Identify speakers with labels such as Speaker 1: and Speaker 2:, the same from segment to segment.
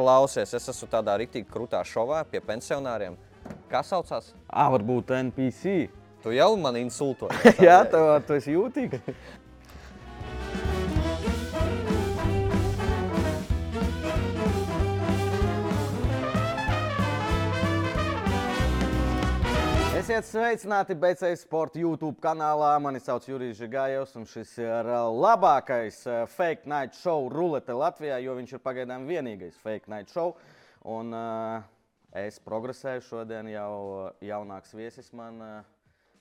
Speaker 1: Klausies, es esmu tādā rīktīgi krūtā šovā pie pensionāriem. Kā saucās?
Speaker 2: Ah, varbūt NPC.
Speaker 1: Tu jau man insulto.
Speaker 2: Jā, tu, tu esi jūtīgs. Esiet sveicināti BC Sports YouTube kanālā. Mani sauc Jurijs Žigājovs, un šis ir ā, labākais ā, fake night show rulete Latvijā, jo viņš ir pagaidām vienīgais fake night show. Un, ā, es progresēju šodien, jau ā, jaunāks viesis man ā,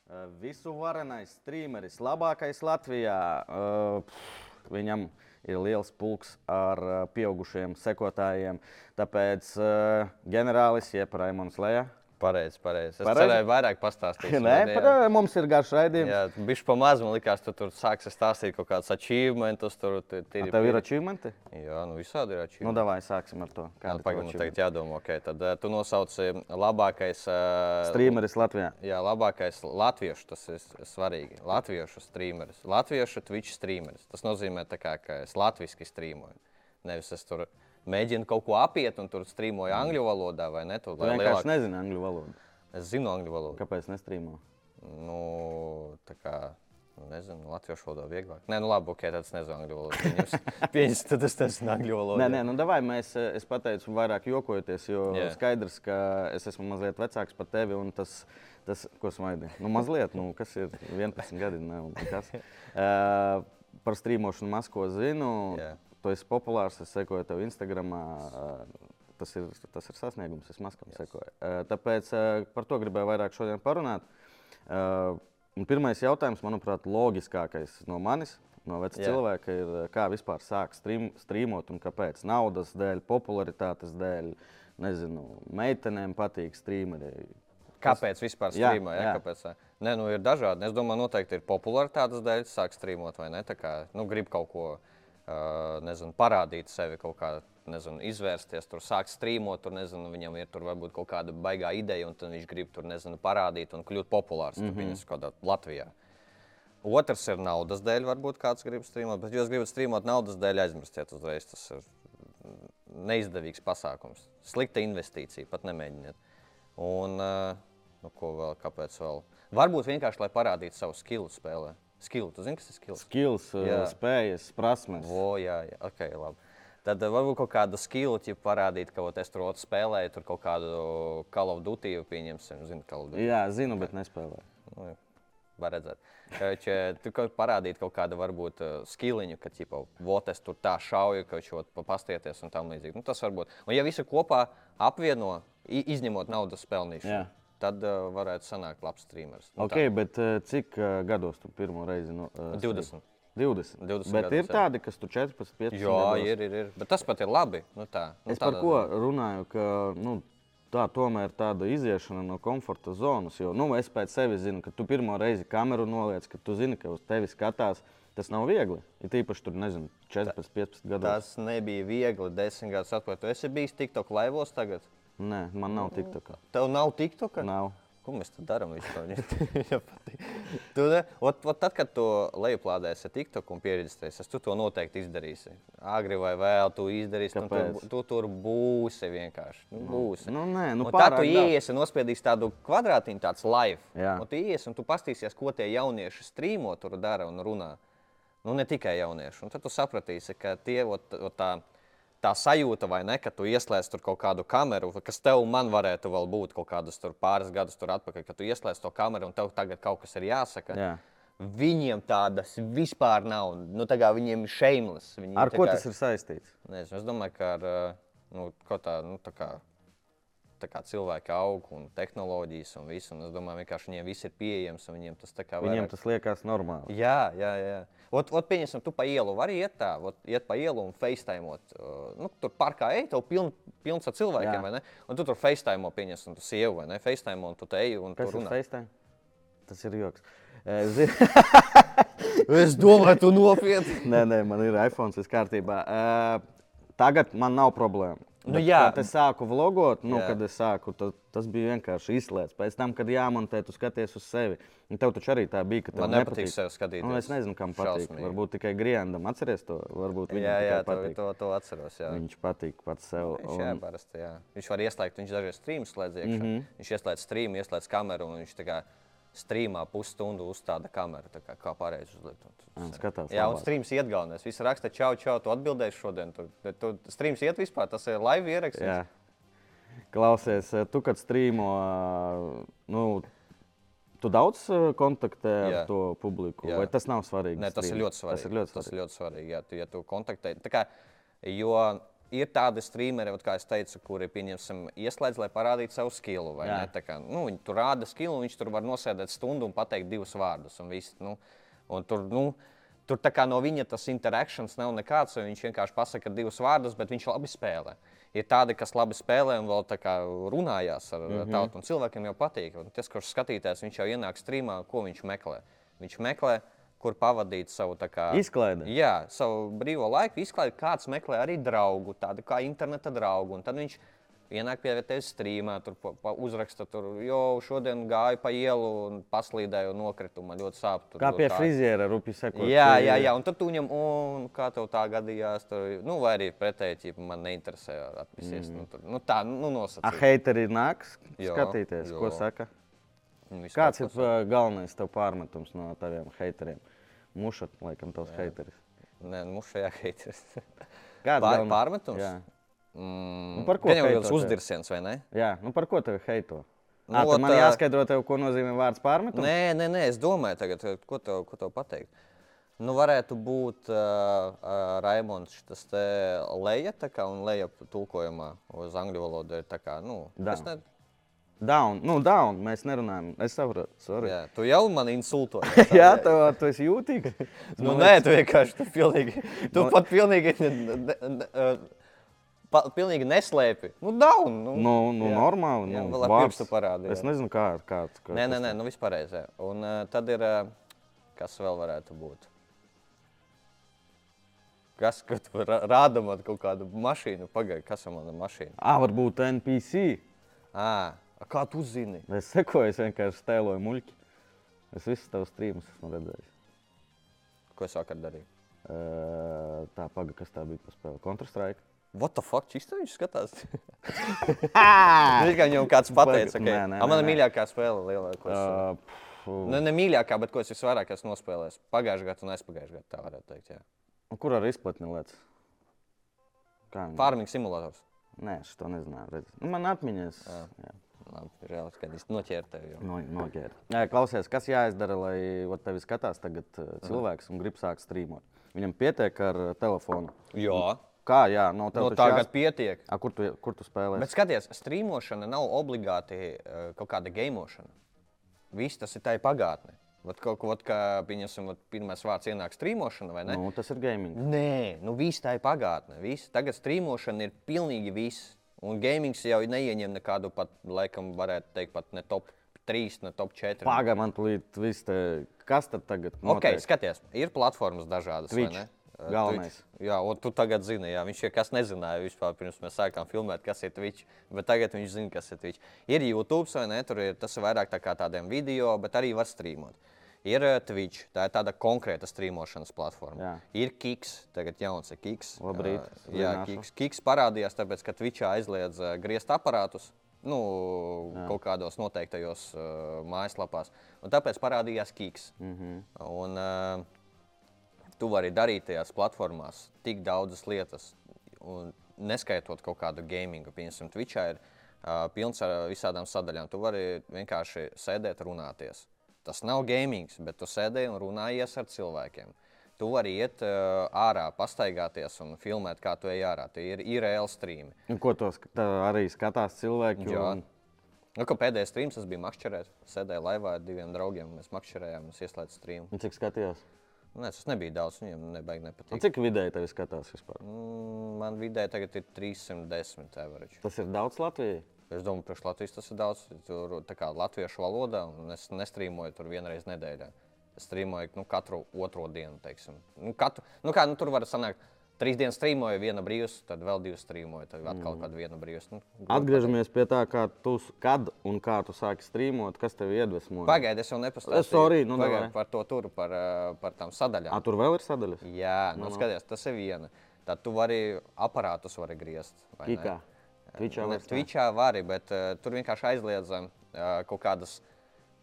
Speaker 2: ā, visu varenais streameris, labākais Latvijā. Ā, pff, Viņam ir liels pulks ar ā, pieaugušiem sekotājiem. Tāpēc ā, ģenerālis Iepraimons Lējā.
Speaker 1: Pareizi, pareizi. Es
Speaker 2: Pareizi?
Speaker 1: cerēju vairāk pastāstīt.
Speaker 2: Nē, par, mums ir garš raidījums.
Speaker 1: Jā, bija pamazs, man liekas, tu tur sāksi stāstīt kaut kādas achievementus. Tur tu- tu-
Speaker 2: Ar tev ir achievementi?
Speaker 1: Jā, nu visādi ir
Speaker 2: Nu,
Speaker 1: achievementi.
Speaker 2: davai, sāksim ar to.
Speaker 1: Nu,
Speaker 2: Kāda
Speaker 1: Pagaidām, tagad jādomā, ok. Tad eh, tu nosauci labākais. eh,
Speaker 2: Streameris Latvijā.
Speaker 1: Jā, labākais latviešu, tas ir s- svarīgi. Latviešu streameris, latviešu Twitch streameris. Tas nozīmē, tā kā, ka es latviešu strīmoju. Nevis es tur mēģinu kaut ko apiet un tur strīmoju angļu valodā vai ne? Tur,
Speaker 2: Mm. Tu
Speaker 1: lai
Speaker 2: vienkārši
Speaker 1: lielāk... ne...
Speaker 2: nezini angļu valodu.
Speaker 1: Es zinu angļu valodu.
Speaker 2: Kāpēc nestrīmo?
Speaker 1: Nu, tā kā, nu, nezinu, latviešu valodā vieglāk. Nē, nu labi, ok, tad es nezinu angļu valodu. Pieņems- Pieņems, tad es nezinu angļu valodu.
Speaker 2: Nē, nē, nu, davai, mēs, eh, es pateicu, vairāk jokojoties, jo
Speaker 1: Jā.
Speaker 2: yeah. skaidrs, ka es esmu mazliet vecāks par tevi. un Tas, tas, ko smaidi? Nu, mazliet, nu, kas ir 11 gadi? Ne, un kas? Uh, par strīmošanu maz ko zinu.
Speaker 1: Jā.
Speaker 2: Tu esi populārs, es sekoju tev Instagram. Tas ir, tas ir sasniegums, es mazliet yes. sekoju. Eh, Tāpēc eh, par to gribēju vairāk šodien parunāt. Pirmā jautājums, manuprāt, loģiskākais no manis, no veca
Speaker 1: Jā.
Speaker 2: cilvēka, ir, eh, kā vispār sākt stream, streamot un kāpēc. Naudas dēļ, popularitātes dēļ, nezinu, meitenēm patīk streameri.
Speaker 1: Kāpēc vispār
Speaker 2: Jā,
Speaker 1: strīmo? Jā, jā.
Speaker 2: jā.
Speaker 1: Kāpēc? ā? Nē, nu ir dažādi. Es domāju, noteikti ir popularitātes dēļ, sāk strīmot vai ne. Tā kā nu, grib kaut ko ā, nezinu, parādīt sevi kaut kā. Nezinu, izvērsties, tur sāk strīmot, tur nezinu, viņam ir tur varbūt kaut kāda baigā ideja, un tad viņš grib tur, nezinu, parādīt un kļūt populārs.
Speaker 2: Mhm.
Speaker 1: Mm -hmm. Tur kādā Latvijā. Otrs ir naudas dēļ, varbūt kāds grib strīmot, bet, ja jūs gribat strīmot naudas dēļ, aizmirstiet uzreiz. Tas ir neizdevīgs pasākums, slikta investīcija, pat nemēģiniet. Un, ā, nu, ko vēl, kāpēc vēl? Varbūt vienkārši, lai parādītu savu skilu spēlē. Skilu, tu zini, kas ir skills?
Speaker 2: Skills, eh,
Speaker 1: Jā.
Speaker 2: spējas, prasmes.
Speaker 1: O, jā, jā, ok, labi. Tad ā, varbūt kaut kādu skilu, ja parādīt, ka ot, es tur otru spēlēju, tur kaut kādu Call of Duty, pieņemsim, zinu, Call of Duty.
Speaker 2: Jā, zinu, bet nespēlēju.
Speaker 1: Nu, jā, Var redzēt, ka tu kaut parādīji kaut kādu, varbūt, eh, skiliņu, ka, tipo, vot es tur tā šauju, ka viņš jau pastieties un tam līdzīgi. Nu, tas var būt. Un, ja visu kopā apvieno, i- izņemot naudas pelnīšanu,
Speaker 2: Jā.
Speaker 1: tad uh, varētu sanākt labs streamers. Nu,
Speaker 2: Okay, bet eh, cik eh, gados tu pirmo reizi? Nu,
Speaker 1: tā.
Speaker 2: eh,
Speaker 1: 20.
Speaker 2: 20.
Speaker 1: 20
Speaker 2: bet
Speaker 1: gados,
Speaker 2: ir
Speaker 1: jā.
Speaker 2: tādi, kas tu 14, 15
Speaker 1: Jā,
Speaker 2: gados.
Speaker 1: ir, ir, ir. Bet tas pat ir labi. Nu, tā, nu,
Speaker 2: Es par
Speaker 1: tādā
Speaker 2: ko runāju, ka nu, tā tomēr ir tāda iziešana no komforta zonas. Jo nu, es pēc sevis zinu, ka tu pirmo reizi kameru noliec, ka tu zini, ka uz tevi skatās. Tas nav viegli. Ir īpaši tur, nezinu, 14, 15 gados.
Speaker 1: Tas nebija viegli desmit gadus atpakaļ. Tu esi bijis TikTok laivos tagad.
Speaker 2: Nē, man nav tik tā kā.
Speaker 1: Tev nav TikToka?
Speaker 2: Nav.
Speaker 1: Ko mēs tam darām? tu, ne, ot, ot, tad, kad tu lejuplādēsi TikTok un pieredzēsies, tu to noteikti izdarīsi. Agri vai vēl, tu izdarīsi. nu, Tu,
Speaker 2: Kāpēc?
Speaker 1: bū- tu tur būsi vienkārši. Nu, būsi.
Speaker 2: Nu, nē, nu,
Speaker 1: Un tā tu
Speaker 2: pārāk daudz.
Speaker 1: ienāc un nospiedīsi tādu kvadrātiņu, tāds live.
Speaker 2: Jā.
Speaker 1: Un tu ienāc un tu pastīsies, ko tie jaunieši strīmo, tur dara un runā. Nu, ne tikai jaunieši. Un tad tu sapratīsi, ka tie ot, ot, tā, tā sajūta, vai ne, ka tu ieslēdz tur kaut kādu kameru, kas tev un man varētu vēl būt kaut kādus tur pāris gadus tur atpakaļ, ka tu ieslēdz to kameru un tev tagad kaut kas ir jāsaka.
Speaker 2: Jā.
Speaker 1: Viņiem tādas vispār nav. Nu, tā kā viņiem ir šeimlis. Viņi
Speaker 2: Ar
Speaker 1: tā
Speaker 2: ko
Speaker 1: kā-
Speaker 2: tas ir saistīts?
Speaker 1: Nezinu, es domāju, ka ar, ā, nu, kaut tā, nu, tā kā, tā kā cilvēki aug un tehnoloģijas un viss. Un es domāju, ka viņiem viss ir pieejams un viņiem tas tā kā
Speaker 2: Viņiem tas liekas normāli.
Speaker 1: Jā, jā, jā. Ot, ot, pieņemsim, tu pa ielu vari iet tā, ot, iet pa ielu un facetēmot. Nu, tur parkā ej, tev piln, pilns ar cilvēkiem,
Speaker 2: Jā.
Speaker 1: vai ne? Un tu tur facetēmo, pieņemsim, tu sievu, vai ne? Facetēmo un tu te eji un
Speaker 2: Kas
Speaker 1: tu
Speaker 2: ir
Speaker 1: runā.
Speaker 2: FaceTime? Tas ir joks. Eh, zini-
Speaker 1: Es domāju, tu nopietni.
Speaker 2: Nē, nē, man ir iPhone, viss kārtībā. Uh, tagad man nav problēma.
Speaker 1: Nu,
Speaker 2: Bet
Speaker 1: jā,
Speaker 2: Kad es sāku vlogot, nu,
Speaker 1: Jā.
Speaker 2: kad es sāku, tad, tas bija vienkārši izslēgts. Pēc tam, kad jāmontē, tu skaties uz sevi. Un tev taču arī tā bija, ka tev
Speaker 1: Man nepatīk sevi skatīties.
Speaker 2: Nu, es nezinu, kam patīk.
Speaker 1: Šausmīgi.
Speaker 2: Varbūt tikai Griendam atceries to. Varbūt viņam
Speaker 1: jā, jā,
Speaker 2: tikai
Speaker 1: to,
Speaker 2: patīk.
Speaker 1: to, to atceros. Jā.
Speaker 2: Viņš patīk pats sev.
Speaker 1: Viņš, jā, parasti, jā. viņš var ieslēgt, viņš dažreiz strīmus slēdz iekšā.
Speaker 2: Mhm.
Speaker 1: Mm -hmm. Viņš ieslēdz strīmu, ieslēdz kameru un viņš tā kā strīmā pusstundu uzstāda kameru. tā Kā, kā pareizi uzlikt. Un tu-
Speaker 2: Un skatās
Speaker 1: jā, un
Speaker 2: labāk.
Speaker 1: strīms iet galvenais. Viss raksta, čau, čau, tu atbildēsi šodien. Tu, tu strīms iet vispār, tas ir live ieraksts.
Speaker 2: Jā. Klausies, eh, tu kad strīmo, eh, nu, tu daudz eh, kontaktē ar
Speaker 1: Jā.
Speaker 2: to publiku,
Speaker 1: Jā.
Speaker 2: vai tas nav svarīgi?
Speaker 1: Nē, tas ir
Speaker 2: streamā?
Speaker 1: ļoti svarīgi.
Speaker 2: Tas ir ļoti
Speaker 1: Tas
Speaker 2: svarīgi.
Speaker 1: ir ļoti svarīgi jā, tu, ja tu kontaktē. Tā Kā, jo ir tādi streameri, vat kā es teicu, kuri pieņemsim ieslēdz, lai parādītu savu skilu. vai
Speaker 2: Jā.
Speaker 1: ne? Tā Kā, nu, viņi tur rāda skilu, viņš tur var nosēdēt stundu un pateikt divus vārdus. Un viss, nu, un tur, nu, tur tā kā no viņa tas interakcijas nav nekāds, jo viņš vienkārši pasaka divus vārdus, bet viņš labi spēlē. Ir tādi, kas labi spēlē un vēl tā kā runājās ar mm -hmm. tautu, un cilvēkiem jau patīk. Un tas, kurš skatītājs, viņš jau ienāk streamā, ko viņš meklē. Viņš meklē, kur pavadīt savu tā kā,
Speaker 2: Izklaide.
Speaker 1: Jā, savu brīvo laiku izklaidē. Kāds meklē arī draugu, tādu kā interneta draugu. un Tad viņš ienāk pie tevis strīmā, tur pa, pa uzraksta, tur jau šodien gāju pa ielu un paslīdēju un nokritu. Man ļoti sāp. Tur,
Speaker 2: Kā
Speaker 1: ļoti
Speaker 2: pie
Speaker 1: tā."
Speaker 2: friziera rupi sekot.
Speaker 1: Jā, jā, jā, un tad tu viņam, un kā tev tā gadījās, tur, nu, vai arī pretēji, ja man neinteresē atpūsties. Mm. Nu, tur, nu, tā, nu,
Speaker 2: A
Speaker 1: nosacīt.
Speaker 2: heiteri nāks
Speaker 1: Jo,
Speaker 2: skatīties, ko
Speaker 1: jo.
Speaker 2: saka.
Speaker 1: Un viss
Speaker 2: Kāds ir
Speaker 1: kaut
Speaker 2: eh, galvenais tev pārmetums no taviem heiteriem? Mušat, laikam, tos heiteris.
Speaker 1: kas- Nē, nu, šajā heiters. Pār,
Speaker 2: Kāds galvenais-
Speaker 1: pārmetums?
Speaker 2: Jā.
Speaker 1: Mm,
Speaker 2: Nu, par ko
Speaker 1: Viņam jau
Speaker 2: heito
Speaker 1: tas
Speaker 2: tev?
Speaker 1: uzdirsiens, vai ne?
Speaker 2: jā, nu par ko tevi heito?
Speaker 1: Nu,
Speaker 2: Nu, Ā, tad
Speaker 1: vot,
Speaker 2: man
Speaker 1: eh,
Speaker 2: jāskaidro tev, ko nozīmē vārds pārmetums?
Speaker 1: Nē, nē, nē, es domāju, tagad, eh, ko tev, ko tev pateikt. Nu, varētu būt uh, uh, Raimons, tas te leja, tā kā un leja tulkojumā uz angļu valodu ir tā kā, nu,
Speaker 2: Down.
Speaker 1: es ne...
Speaker 2: Down, nu, down, mēs nerunājam. Es saprotu, sorry.
Speaker 1: Jā, tu jau man insultoji.
Speaker 2: Jā, tev tu esi jūtīgs.
Speaker 1: Nu, nē, tu vienkārši, tu pilnīgi, tu
Speaker 2: Man-
Speaker 1: pat pilnīgi, ne, ne, ne, eh, pa, pilnīgi neslēpi. Nu, down, nu.
Speaker 2: Nu, nu
Speaker 1: Jā.
Speaker 2: normāli.
Speaker 1: Jā,
Speaker 2: nu,
Speaker 1: vēl ar
Speaker 2: vārds.
Speaker 1: pirkstu parādi,
Speaker 2: Es
Speaker 1: jā.
Speaker 2: nezinu, kā. kā, kā
Speaker 1: Nē, nē,
Speaker 2: tas
Speaker 1: nē, nu vispār reizē. Un uh, tad ir, uh, kas vēl varētu būt? Kas, kad tu ra- rāda man kaut kādu mašīnu, pagaidi, kas ir mana mašīna?
Speaker 2: Ā, varbūt NPC.
Speaker 1: À, kā tu zini?
Speaker 2: Es sekoju, es vienkārši stēloju muļķi. Es visus tavus streamus esmu redzējis.
Speaker 1: Ko es vakar darīju?
Speaker 2: Ē, Tā paga, kas tā bija paspēle. Counter-Strike.
Speaker 1: What the fuck, čista viņš skatās?
Speaker 2: Ā,
Speaker 1: Viņš kā viņam kāds pateica, ka
Speaker 2: Nē, nē,
Speaker 1: okay.
Speaker 2: nē,
Speaker 1: mana
Speaker 2: nē.
Speaker 1: mīļākā spēle lielākā. Uh,
Speaker 2: pfu.
Speaker 1: ne, ne mīļākā, bet ko es visvairāk esmu nospēlējis. Pagājušajā gadā un aizpagājušajā gadā, tā varētu teikt. Jā.
Speaker 2: Un nu, Kur ar izplatni lec? Kā? viņa-
Speaker 1: Farming simulators.
Speaker 2: Nē, es to nezināju. redz. Nu, man atmiņas. Jā.
Speaker 1: Labi, reāli, kad es noķēru tevi. Jau.
Speaker 2: No, nogēra. Jā, Klausies, kas jāizdara, lai vat tevi skatās tagad eh, cilvēks un grib sākt strīmot? Viņam pietiek ar eh, telefonu.
Speaker 1: Jā,
Speaker 2: Kā, jā, no
Speaker 1: no
Speaker 2: tev taču
Speaker 1: tagad
Speaker 2: jās-
Speaker 1: pietiek.
Speaker 2: A, kur, tu, kur tu spēlē?
Speaker 1: Bet skaties, strīmošana nav obligāti eh, kaut kāda gameošana. Viss tas ir tā pagātne. Vat kaut ko, vat kā pieņemsim, vat pirmais vārds ienāk strīmošana vai ne?
Speaker 2: Nu, tas ir gaming.
Speaker 1: Nē, nu viss tā ir pagātne. Viss. Tagad strīmošana ir pilnīgi viss. Un gamings jau neieņem nekādu pat, laikam, varētu teikt, pat ne top 3, ne top 4.
Speaker 2: Pagaidām, man tūlīt viss te, kas tad tagad
Speaker 1: Ok,
Speaker 2: notiek?
Speaker 1: skaties, ir platformas dažādas. vai
Speaker 2: Twitch,
Speaker 1: ne? Eh,
Speaker 2: galvenais.
Speaker 1: Twitch. Jā, un tu tagad zini, jā, viņš jau nezināja vispār, pirms mēs sākām filmēt, kas ir Twitch. Bet tagad viņš zina, kas ir Twitch. Ir YouTube, vai ne? Tur ir tas ir vairāk tā kā tādiem video, bet arī var streamot. Ir eh, Twitch, tā ir tāda konkrēta streamošanas platforma. Ir Kiks, tagad jauns ir Kiks.
Speaker 2: Labrīt,
Speaker 1: Eh, Jā,
Speaker 2: zināšu.
Speaker 1: Kiks. Kiks parādījās tāpēc, ka Twitchā aizliedz eh, griezt aparātus. Nu, kaut kādos noteiktajos uh, mājaslapās. Un tāpēc parādījās Kiks. Mm -hmm. Un, uh, tu vari darīt tajās platformās tik daudzas lietas, un neskaitot kaut kādu gamingu. Piemēram, Twitchā ir uh, pilns ar visādām sadaļām. Tu vari vienkārši sēdēt, runāties. Tas nav gamings, bet tu sēdēji un runājies ar cilvēkiem. Tu vari iet uh, ārā, pastaigāties un filmēt, kā tu ej ārā. Tie ir īrēli streami.
Speaker 2: Un Ko tos tā arī skatās cilvēki?
Speaker 1: Jā.
Speaker 2: un-
Speaker 1: Nu, ka pēdējais streams tas bija makšķerēt. Sēdēju laivā ar diviem draugiem, mēs makšķerējām, es ieslēdzu streamu.
Speaker 2: Un Cik skatījās?
Speaker 1: Nē, tas nebija daudz, viņiem nebaigi
Speaker 2: Un
Speaker 1: nepatīk.
Speaker 2: cik vidēji tevi skatās vispār?
Speaker 1: Mm, Man vidē tagad ir 310 average.
Speaker 2: Tas ir daudz Latvijai.
Speaker 1: Es domāju, ka Latvijas tas ir daudz. Tur tā kā latviešu valodā, un es nestrīmoju tur vienreiz nedēļā. Es strīmoju nu, katru otro dienu, teiksim. Nu, katru, nu, kā, nu, tur var sanākt Trīs dienas strīmoju, viena brīvs, tad vēl divas strīmoju, tad atkal kādu vienu brīvs. Nu,
Speaker 2: Mm. Atgriežamies pie tā, kā tu, s- kad un kā tu sāki strīmot, kas tev iedvesmoja.
Speaker 1: Pagaidiet, es jau nepastāstīju
Speaker 2: Es sorry, nu
Speaker 1: Pagaidi,
Speaker 2: davai.
Speaker 1: par to turu, par, eh, par tām sadaļām.
Speaker 2: A, tur vēl ir sadaļas.
Speaker 1: Jā, nu, skaties, tas ir viena. Tad tu vari aparātus vari griezt. vai ne?
Speaker 2: Tikā. Twitchā
Speaker 1: Nu,
Speaker 2: vairs ne.
Speaker 1: Twitchā vari, bet uh, tur vienkārši aizliedzam uh, kaut kādas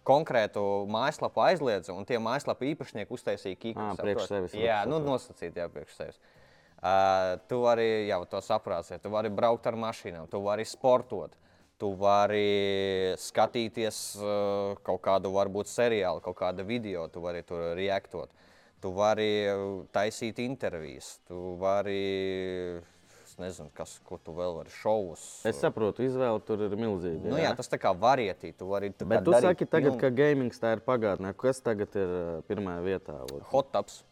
Speaker 1: konkrētu mājaslapu aizliedzam, un tie mājaslapu īpašnieki uztaisīja kīku.
Speaker 2: Ā, priekš sevis
Speaker 1: Jā,
Speaker 2: likt
Speaker 1: nu nosacīt, jā, priekš sevis. Uh, tu vari jau to saprāstīt, tu vari braukt ar mašīnām, tu vari sportot. Tu vari skatīties uh, kaut kādu, varbūt, seriālu, kaut kādu video, tu vari tur reaktot. Tu vari uh, taisīt intervijas, tu vari, es nezinu, kas, ko tu vēl vari, šovus.
Speaker 2: Es saprotu, izvēle tur ir milzīga.
Speaker 1: Nu, jā, tas tā kā varietī, tu vari tā
Speaker 2: Bet
Speaker 1: kā
Speaker 2: tu
Speaker 1: darīt nu,
Speaker 2: saki, tagad,
Speaker 1: pilnu-
Speaker 2: ka gaming tā ir pagātnē. Kas tagad ir uh, pirmajā vietā? vot?
Speaker 1: hot tubs.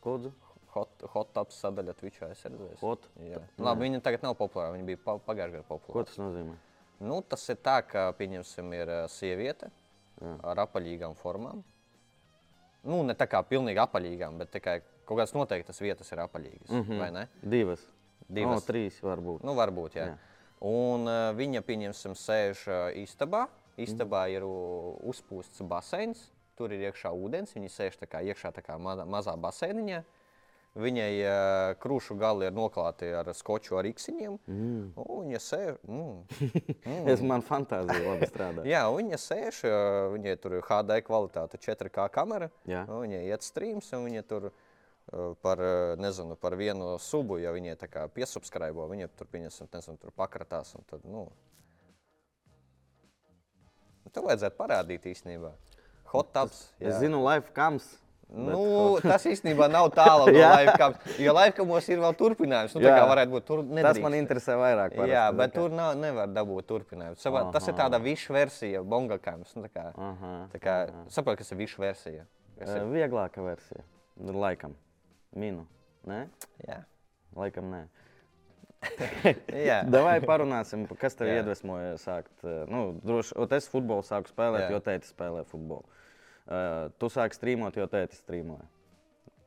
Speaker 2: Kodzu?
Speaker 1: Hot, hot tubs sadaļa Twitchā es redzēju.
Speaker 2: Hot
Speaker 1: Jā.
Speaker 2: tub,
Speaker 1: Labi, viņa tagad nav populāra, viņa bija pa, pagājušajā gadā
Speaker 2: Ko
Speaker 1: populāra.
Speaker 2: tas nozīmē?
Speaker 1: Nu, tas ir tā, ka, pieņemsim, ir ā, sieviete ar apaļīgām formām. Nu, ne tā kā pilnīgi apaļīgām, bet tikai kaut kādas noteiktas vietas ir apaļīgas, mm -hmm. vai ne?
Speaker 2: Divas.
Speaker 1: Divas.
Speaker 2: No, trīs varbūt.
Speaker 1: Nu, varbūt, jā.
Speaker 2: Jā.
Speaker 1: Oh, jā. Un uh, viņa, pieņemsim, sēž uh, istabā. Istabā ir u- uzpūsts baseins, tur ir iekšā ūdens. Viņa sēž tā kā iekšā tā kā ma mazā baseiniņā. Viņai uh, krūšu gali ir noklāti ar skoču ar īksiņiem. Mm. Un viņa sēž. Mm.
Speaker 2: Mm. Es man fantāzija labi strādā.
Speaker 1: Jā, un viņa sēž, uh, viņai tur ir HD kvalitāte, 4K kamera.
Speaker 2: Jā.
Speaker 1: Un Viņai iet streams, un viņa tur uh, par, uh, nezinu, par vienu subu, ja viņai tā kā piesubscribo, viņa tur pieņemsim, nezinu, tur pakratās. un Tad, nu, nu, to vajadzētu parādīt īstenībā. Hot tubs.
Speaker 2: es zinu, life comes.
Speaker 1: Nu, tas īstenībā nav tālu no
Speaker 2: Jā.
Speaker 1: laikam. Jo laikam mums ir vēl turpinājums. Nu, tā
Speaker 2: Jā.
Speaker 1: kā varētu būt tur
Speaker 2: Nedrīkst. Tas
Speaker 1: nedrīkst.
Speaker 2: man interesē vairāk. parasti,
Speaker 1: Jā,
Speaker 2: zini
Speaker 1: bet
Speaker 2: kā.
Speaker 1: tur nav, nevar dabūt turpinājumu. Savā, tas ir tāds višs versija, bongakāms. Nu, tā kā,
Speaker 2: Aha.
Speaker 1: tā kā, saprot, kas ir višs versija. Kas
Speaker 2: Eh, Vieglāka versija. Nu, Laikam. Minu. Nē?
Speaker 1: ir- Jā.
Speaker 2: Laikam nē.
Speaker 1: Jā.
Speaker 2: Davai parunāsim, pa- kas tev
Speaker 1: Jā.
Speaker 2: iedvesmoja sākt. eh, Nu, droši, ot es futbolu sāku spēlēt,
Speaker 1: Jā.
Speaker 2: jo tēti spēlē futbolu. Eh, Tu sāki strīmot, jo tēti strīmoja.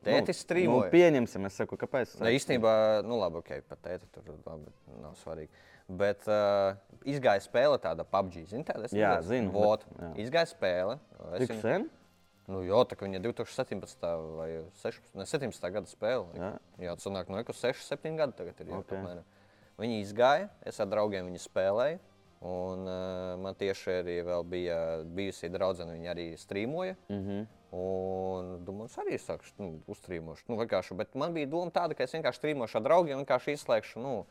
Speaker 1: Tētis strīmoja?
Speaker 2: Nu, pieņemsim, es saku, kāpēc. es
Speaker 1: Ne,
Speaker 2: sāku
Speaker 1: īstenībā, nu labi, ok, pat tēti tur labi, nav svarīgi. Bet uh, izgāja spēle tāda PUBG, zini, tāda es
Speaker 2: Jā,
Speaker 1: nezinu,
Speaker 2: zinu,
Speaker 1: Vot,
Speaker 2: bet- jā.
Speaker 1: izgāja spēle. Es
Speaker 2: Tik
Speaker 1: viņu-
Speaker 2: sen?
Speaker 1: Nu, jā, tā kā viņa 2017. vai 16, ne, 17. gada spēle.
Speaker 2: Jā.
Speaker 1: jā tas nāk no kaut kā 6, 7 gadi tagad ir.
Speaker 2: Ok.
Speaker 1: Okay. Viņi izgāja, es ar draugiem viņu spēlēju. Un uh, man tieši arī vēl bija bijusi draudzene, viņa arī strīmoja. Mm -hmm. Un domāju, es arī sāku nu, uztrīmošu. Nu, vienkārši, bet man bija doma tāda, ka es vienkārši strīmošu ar draugiem, vienkārši izslēgšu. Nu,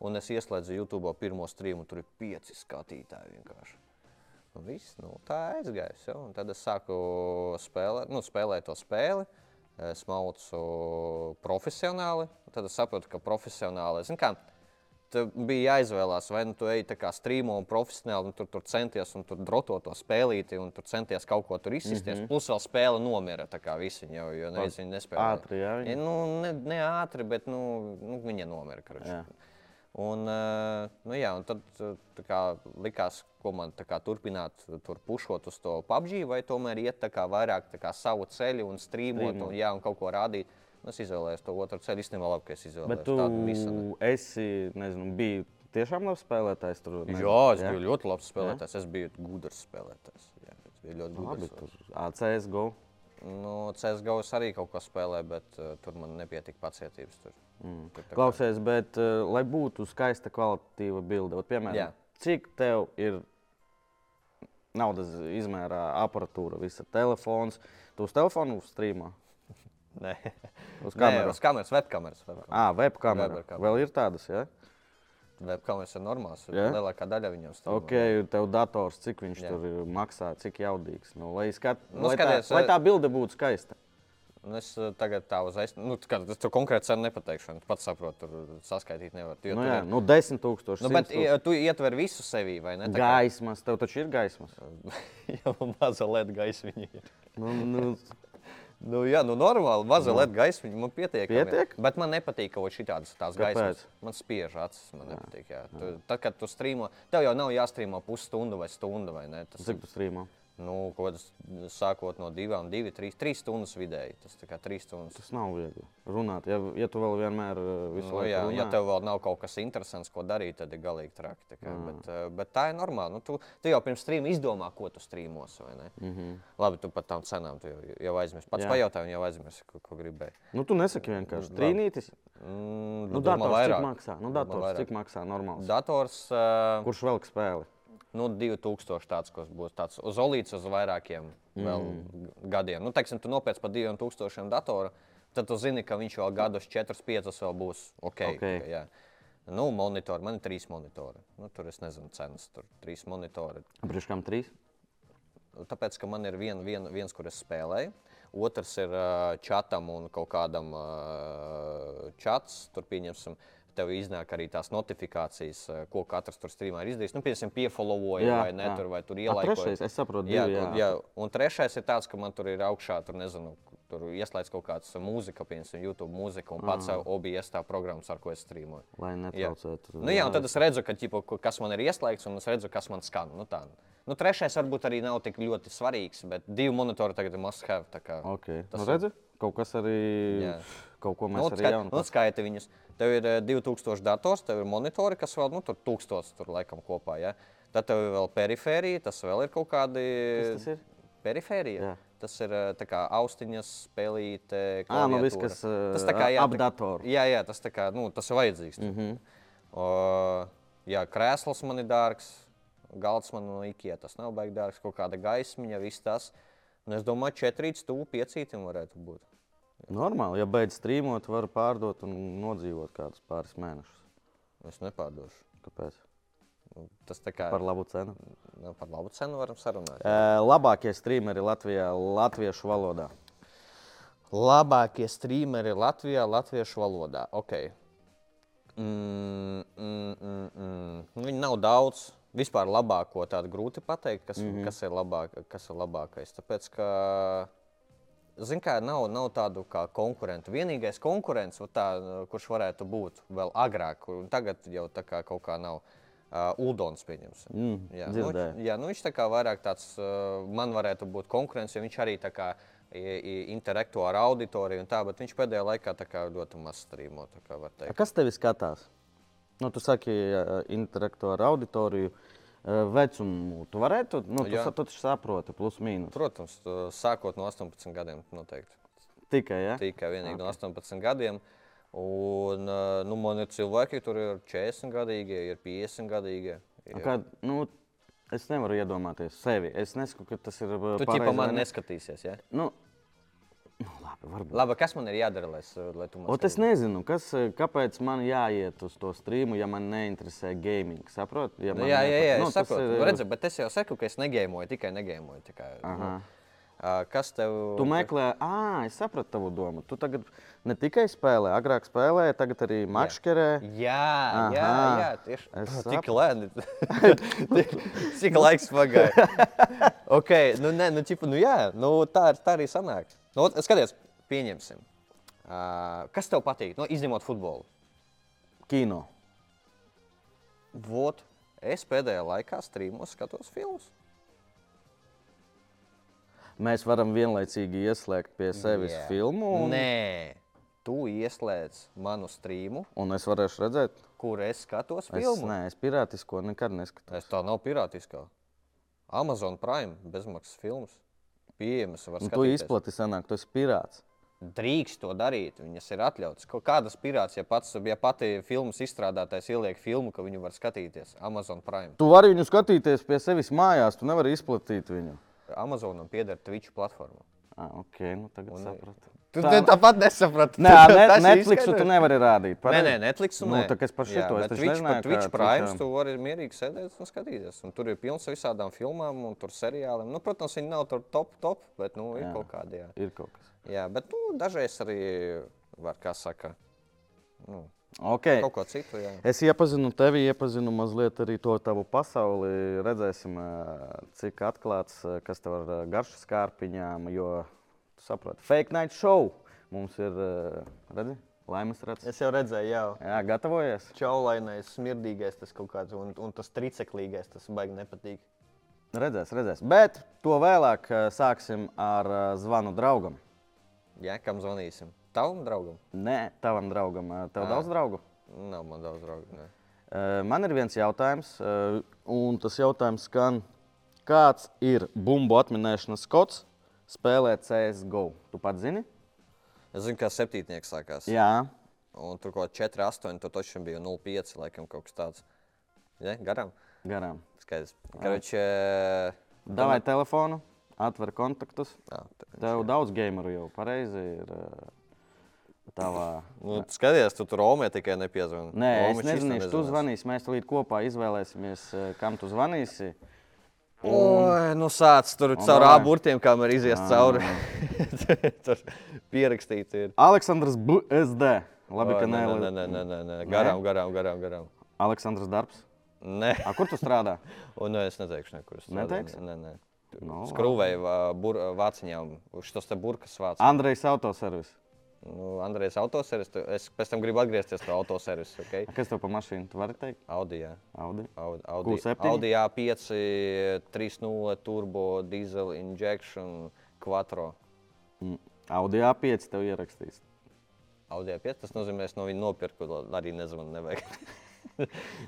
Speaker 1: un es ieslēdzu YouTube pirmo strīmu, tur ir pieci skatītāji vienkārši. Un viss, nu, tā aizgāja. Jau. Un Tad es sāku spēlēt, nu, spēlēt to spēli. Es maucu profesionāli. un Tad es sapratu, ka profesionāli zin, kā, tev bija jāizvēlās, vai nu tu ej tā kā strīmo un profesionāli, un tur, tur centies un tur droto to spēlīti, un tur centies kaut ko tur izsisties. Mm -hmm. Plus vēl spēle nomira. Tā kā visi jau, jo neviens viņu nespēja.
Speaker 2: ātri, jā, viņa?
Speaker 1: Nu, ne, ne ātri, bet nu, nu, viņa nomira. karoči.
Speaker 2: Jā.
Speaker 1: Un, eh, nu, jā, un tad eh, tā kā, likās, ko man tā kā, turpināt, tur pušot uz to PUBG, vai tomēr iet tā kā, vairāk tā kā, savu ceļu un strīmot un, jā, un kaut ko rādīt. Nu, es izvēlējos to otru ceļu. Īstenībā labi, ka es
Speaker 2: Bet
Speaker 1: izvēlējos
Speaker 2: tu
Speaker 1: tādu misiju.
Speaker 2: esi, nezinu, biji tiešām labs spēlētājs tur. nezinu,
Speaker 1: Jā, es biju ļoti labs spēlētājs. Es biju gudrs spēlētājs. Jā, es biju ļoti
Speaker 2: Nu, Labi,
Speaker 1: gudrs.
Speaker 2: tur ACS GO.
Speaker 1: Nu, CSGO es arī kaut ko spēlēju, bet uh, tur man nepietika pacietības. Tur. Mm. Tur, tā kā-
Speaker 2: Klausies, bet eh, lai būtu skaista kvalitīva bilde, Ot, piemēram,
Speaker 1: Jā.
Speaker 2: cik tev ir naudas izmērā aparatūra, visa telefons, tu uz telefonu strīmo,
Speaker 1: Nē,
Speaker 2: uz
Speaker 1: Nē,
Speaker 2: kameras.
Speaker 1: uz kameras, webkameras. webkameras.
Speaker 2: Ah, webkamera.
Speaker 1: Webkamera.
Speaker 2: Vēl ir tādas, ja?
Speaker 1: Webkameras ir normāls.
Speaker 2: Jā?
Speaker 1: Yeah. Lielākā daļa viņam stāv.
Speaker 2: Ok, tev dators, cik viņš
Speaker 1: Jā.
Speaker 2: tur ir, maksā, cik jaudīgs. Nu, lai, skat...
Speaker 1: Nu,
Speaker 2: lai,
Speaker 1: skaties,
Speaker 2: tā, lai
Speaker 1: eh,
Speaker 2: tā bilde būtu skaista.
Speaker 1: Nu, es eh, tagad tā uzreiz, nu, tā kā es to konkrēti cenu nepateikšu. Tu pats saproti, tur saskaitīt nevar. Jo
Speaker 2: Nu,
Speaker 1: tur
Speaker 2: jā,
Speaker 1: ir-
Speaker 2: nu, 10 tūkstoši.
Speaker 1: nu, bet eh, tu ietver visu sevī, vai ne? Tā
Speaker 2: Gaismas, tev taču ir gaismas.
Speaker 1: kā- Jā, nu, maza led gaisa viņa ir.
Speaker 2: Nu, nu,
Speaker 1: Nu, jā, nu normāli, maza led gaisa viņa man pietiek.
Speaker 2: Pietiek?
Speaker 1: Bet man nepatīk, ka vot šitādas tās gaismas.
Speaker 2: Kāpēc?
Speaker 1: Man spiež acis, man nepatīk. Jā. Tu, tad, kad tu strīmo, tev jau nav jāstrīmo pusstundu vai stundu, vai ne? Tas
Speaker 2: cik tu strīmo?
Speaker 1: Nu, kaut kādas sākot no divām, divi, trīs, trīs stundas vidēji. Tas tā kā trīs stundas.
Speaker 2: Tas nav viegli runāt. Ja, ja tu vēl vienmēr eh, visu
Speaker 1: Nu,
Speaker 2: laiku
Speaker 1: jā,
Speaker 2: runā,
Speaker 1: ja tev vēl nav kaut kas interesants, ko darīt, tad ir galīgi traki. Tā kā,
Speaker 2: Mm.
Speaker 1: bet, eh, bet tā ir normāli. Nu, tu, tu jau pirms streama izdomā, ko tu streamos. Mm
Speaker 2: Mhm.
Speaker 1: -hmm. Labi, tu par tām cenām tu jau, jau aizmirsti. Pats
Speaker 2: Jā.
Speaker 1: pajautāji, un jau aizmirsti, ko, ko gribēji.
Speaker 2: nu, tu nesaki vienkārši trīnītis.
Speaker 1: Mm,
Speaker 2: Nu,
Speaker 1: domā
Speaker 2: dators
Speaker 1: vairāk.
Speaker 2: cik maksā? Nu,
Speaker 1: Domā
Speaker 2: dators
Speaker 1: vairāk.
Speaker 2: cik maksā normāls?
Speaker 1: Dators uh,
Speaker 2: Kurš velk spēli?
Speaker 1: nu, 2000 tāds, kas būs tāds uz olīts uz vairākiem mm. gadiem. Nu, teiksim, tu nopērci par 2000 datoru, tad tu zini, ka viņš vēl gadus 4-5 vēl būs ok.
Speaker 2: Okei.
Speaker 1: ka, jā. Nu, monitori, man ir trīs monitori. Nu, tur es nezinu, cenas. Tur trīs monitori.
Speaker 2: Priekškām trīs.
Speaker 1: Tāpēc, ka man ir vien, vien, viens, kur es spēlēju, otrs ir uh, čatam un kaut kādam uh, čats. Tur pieņemsim, tev iznāk arī tās notifikācijas, uh, ko katrs tur streamā ir izdarījis. Nu, pieņemsim, piefollowoja vai ne, tur, vai tur
Speaker 2: Ā,
Speaker 1: ielaikoja.
Speaker 2: Trešais, es saprotu,
Speaker 1: Jā,
Speaker 2: divi, jā.
Speaker 1: jā. Un trešais ir tāds, ka man tur ir augšā, tur nezinu, tur ieslēdz kaut kāds mūzika, piemēram, YouTube mūzika un pats ah. OBS tā programmas, ar ko es strīmoju.
Speaker 2: Lai
Speaker 1: Jā.
Speaker 2: netraucētu.
Speaker 1: Nu, jā, un tad es redzu, ka, ķipa, ko- kas man ir ieslēgts, un es redzu, kas man skan. Nu, tā. nu, trešais varbūt arī nav tik ļoti svarīgs, bet divi monitori tagad ir must-have. tā kā.
Speaker 2: Okay.
Speaker 1: Tas
Speaker 2: Nu,
Speaker 1: ir-
Speaker 2: redzi, kaut kas arī.
Speaker 1: Jā.
Speaker 2: Kaut ko mēs
Speaker 1: Nu,
Speaker 2: arī
Speaker 1: skai,
Speaker 2: jaunu
Speaker 1: nu, skaita viņus. Tev ir eh, 2000 dators, tev ir monitori, kas vēl nu, tur 1000 tur laikam kopā. Ja? Tad tev ir vēl perifērija, tas vēl ir kaut kādi.
Speaker 2: Kas tas ir?
Speaker 1: Perifērija.
Speaker 2: Jā.
Speaker 1: Tas ir eh, tā kā austiņas, spēlīte,
Speaker 2: Ā, nu,
Speaker 1: klaviatūra.
Speaker 2: viss, kas, eh,
Speaker 1: tas tā kā jā,
Speaker 2: ap
Speaker 1: tā-
Speaker 2: datoru.
Speaker 1: Jā, jā, tas tā kā nu, tas ir vajadzīgs. Mm
Speaker 2: Mhm.
Speaker 1: -hmm. o, jā, krēsls man ir dārgs, galds man no Ikea tas nav baigi dārgs, kaut kāda gaismiņa, viss tas. Un es domāju, 4, 5 varētu būt.
Speaker 2: Normāli, ja beidz strīmot, var pārdot un nodzīvot kādus pāris mēnešus.
Speaker 1: Es nepārdošu.
Speaker 2: Kāpēc?
Speaker 1: Nu, Tas tā kā
Speaker 2: Par labu cenu.
Speaker 1: Nu, par labu cenu varam sarunāt.
Speaker 2: E, labākie strīmeri Latvijā, latviešu valodā.
Speaker 1: Labākie streameri Latvijā, latviešu valodā. Okay. Mm, mm, mm, mm. Nu, Viņi nav daudz. Vispār labāko tādu grūti pateikt, kas, mm -hmm. kas, ir, labāk, kas ir labākais. Tāpēc, ka, zin, kā, nav, nav tādu kā konkurentu. Vienīgais konkurents, vot tā, kurš varētu būt vēl agrāk, un tagad jau tā kā kaut kā nav. Uh, Uldons, pieņemsim.
Speaker 2: Mm,
Speaker 1: Jā, nu,
Speaker 2: dzirdēju.
Speaker 1: viņš- jā, nu viņš tā kā vairāk tāds, uh, man varētu būt konkurence, jo viņš arī tā kā i- i- interakto ar auditoriju un tā, bet viņš pēdējā laikā tā kā ļoti maz strīmo, tā kā var
Speaker 2: A
Speaker 1: teikt.
Speaker 2: Kas tevi skatās? Nu, tu saki, e, interaktu ar auditoriju, e, vecumu. Tu varētu, nu, tu,
Speaker 1: Jā.
Speaker 2: sa- tu taču saproti, plus mīnus.
Speaker 1: Protams, tu sākot no 18 gadiem noteikti.
Speaker 2: Tikai, ja?
Speaker 1: Tikai vienīgi no 18 gadiem. Un uh, nu, man ir cilvēki, tur ir 40 gadīgi, ir 50 gadīgi.
Speaker 2: A Kā, nu, es nevaru iedomāties sevi. Es nesaku, ka tas ir. e,
Speaker 1: Tu
Speaker 2: pareizi
Speaker 1: tipā
Speaker 2: vai
Speaker 1: man
Speaker 2: ne.
Speaker 1: neskatīsies, ja?
Speaker 2: Nu, nu, labi, varbūt.
Speaker 1: Labi, kas man ir jādara, lai, es, uh, lai tu man
Speaker 2: Ot, es nezinu, kas, eh, kāpēc man jāiet uz to streamu, ja man neinteresē gaming. Saprotiet, ja
Speaker 1: Nu,
Speaker 2: man
Speaker 1: jā, jā, jā,
Speaker 2: nepat-
Speaker 1: nu, es
Speaker 2: tas
Speaker 1: saprotu.
Speaker 2: ir-
Speaker 1: Ir... Redzi, bet es jau saku, ka es negēmoju, tikai negēmoju. tā Kā, nu, uh, kas tev
Speaker 2: Tu meklē, ah, es sapratu tavu domu. Tu tagad ne tikai spēlē, agrāk spēlēji, tagad arī makšķerē.
Speaker 1: Jā, jā,
Speaker 2: Aha.
Speaker 1: jā tieši
Speaker 2: Es
Speaker 1: tā. Tik lēni. Tik- Cik laiks pagāja. ok, nu, nē, nu, čipa, nu, jā, nu tā, ir- tā arī sanāk. Nu, ot, skaties, pieņemsim. Uh, kas tev patīk? Nu, izņemot futbolu.
Speaker 2: Kino.
Speaker 1: Vot, es pēdējā laikā strīmos skatos filmus.
Speaker 2: Mēs varam vienlaicīgi ieslēgt pie sevis
Speaker 1: Jā.
Speaker 2: filmu, un,
Speaker 1: Nē, tu ieslēdz manu strīmu,
Speaker 2: un es varēšu redzēt,
Speaker 1: kur es skatos
Speaker 2: es,
Speaker 1: filmu.
Speaker 2: nē, es pirātisko nekad neskatos.
Speaker 1: Es tā nav pirātiskā. Amazon Prime bezmaksas filmas. Pieejamas var
Speaker 2: Un tu
Speaker 1: skatīties.
Speaker 2: izplati sanāk, tu esi pirāts.
Speaker 1: Drīkst to darīt, viņas ir atļautas. Kaut Kādas pirāts, ja, pats, ja pati filmas izstrādātājs ieliek filmu, ka viņu var skatīties Amazon Prime.
Speaker 2: Tu vari viņu skatīties pie sevis mājās, tu nevari izplatīt viņu.
Speaker 1: Amazonam pieder Twitch platforma.
Speaker 2: Ah, ok, nu tagad sapratu.
Speaker 1: Tu tā... tāpat nesaprati.
Speaker 2: nu- Nē, ne, Netflixu tu nevari rādīt.
Speaker 1: Nē,
Speaker 2: pareizi?
Speaker 1: nē, Netflix un
Speaker 2: Nu, tā kā es par šito, es
Speaker 1: bet
Speaker 2: taču
Speaker 1: Twitch,
Speaker 2: nezināju,
Speaker 1: nezināju,
Speaker 2: kā
Speaker 1: Twitch
Speaker 2: Twitchā-
Speaker 1: Prime tu vari mierīgi sēdēt un skatīties. Un tur ir pilns ar visādām filmām un tur seriāliem. Nu, protams, viņi nav tur top, top, bet nu, ir jā. kaut kādi. Jā.
Speaker 2: Ir kaut kas.
Speaker 1: Jā, bet nu, dažreiz arī var, kā saka, nu,
Speaker 2: Okay.
Speaker 1: kaut ko citu. Jā.
Speaker 2: Es iepazinu tevi, iepazinu mazliet arī to tavu pasauli. Redzēsim, eh, cik atklāts, eh, kas tev ir eh, garšas kārpiņām. Jo, tu saproti, fake night show mums ir, eh, redzi, laimes redzes.
Speaker 1: Es jau redzēju, jau
Speaker 2: Jā, gatavojies.
Speaker 1: čaulainais, smirdīgais tas kaut kāds, un, un tas triceklīgais, tas baigi nepatīk.
Speaker 2: Redzēs, redzēs. Bet to vēlāk eh, sāksim ar eh, zvanu draugam.
Speaker 1: Jā, kam zvanīsim? Tavam draugam?
Speaker 2: Nē, tavam draugam. Eh, Tev
Speaker 1: Ā.
Speaker 2: daudz draugu?
Speaker 1: Nav man daudz draugu. Ne.
Speaker 2: Eh, Man ir viens jautājums, eh, un tas jautājums skan, kāds ir bumbu atminēšanas kods spēlēt CSGO? Tu pats zini?
Speaker 1: Es zinu, kā septītnieks sākās.
Speaker 2: Jā,
Speaker 1: Un tur kaut kā 4, 8, tur taču bija 0,5 laikam kaut kas tāds. Jā, garām. eh,
Speaker 2: garām.
Speaker 1: Skaidrs. Karoče,
Speaker 2: Davai telefonu, atver kontaktus.
Speaker 1: ā, tā-
Speaker 2: Tev daudz gameru jau pareizi ir. eh, Tavā...
Speaker 1: Nu, skaties, tu tur Romē tikai nepiezvani.
Speaker 2: Nē, es
Speaker 1: Romē šis
Speaker 2: nezināšu, tu
Speaker 1: nezvanās.
Speaker 2: zvanīsi. Mēs līdz kopā izvēlēsimies, eh, kam tu zvanīsi.
Speaker 1: Oi, nu sāc tur caur
Speaker 2: vai? Ah.
Speaker 1: aburtiem, kā var iziest cauri. tur pierakstīts ir.
Speaker 2: Aleksandrs BSD. Labi,
Speaker 1: Oi,
Speaker 2: ka
Speaker 1: nē, nē, nē,
Speaker 2: nē.
Speaker 1: nē, nē, nē, garām, garām, garām, garām.
Speaker 2: Aleksandrs darbs.
Speaker 1: Nē,
Speaker 2: A, kur tu strādā?
Speaker 1: un nu, es neteikšu nekur. es strādāju.
Speaker 2: Neteiksi?
Speaker 1: Nē, nē.
Speaker 2: Nu,
Speaker 1: Skrūvēju vā- bur, vāciņām, uz šos te burkas vāciņām.
Speaker 2: Andrejs autoservis.
Speaker 1: Nu, Andrejs, autoservis. tu- Es pēc tam gribu atgriezties pie autoservisa. Okay?
Speaker 2: A, Kas tev pa mašīnu? Tu vari teikt?
Speaker 1: Audi, jā.
Speaker 2: Audi.
Speaker 1: Audi, Audi,
Speaker 2: Q7?
Speaker 1: Audi A5, 3.0, turbo, diesel injection, quattro.
Speaker 2: Mm. Audi A5 tev ierakstīs.
Speaker 1: Audi A5, tas nozīmē, es no viņa nopirku, lai arī nezvanu, nevajag.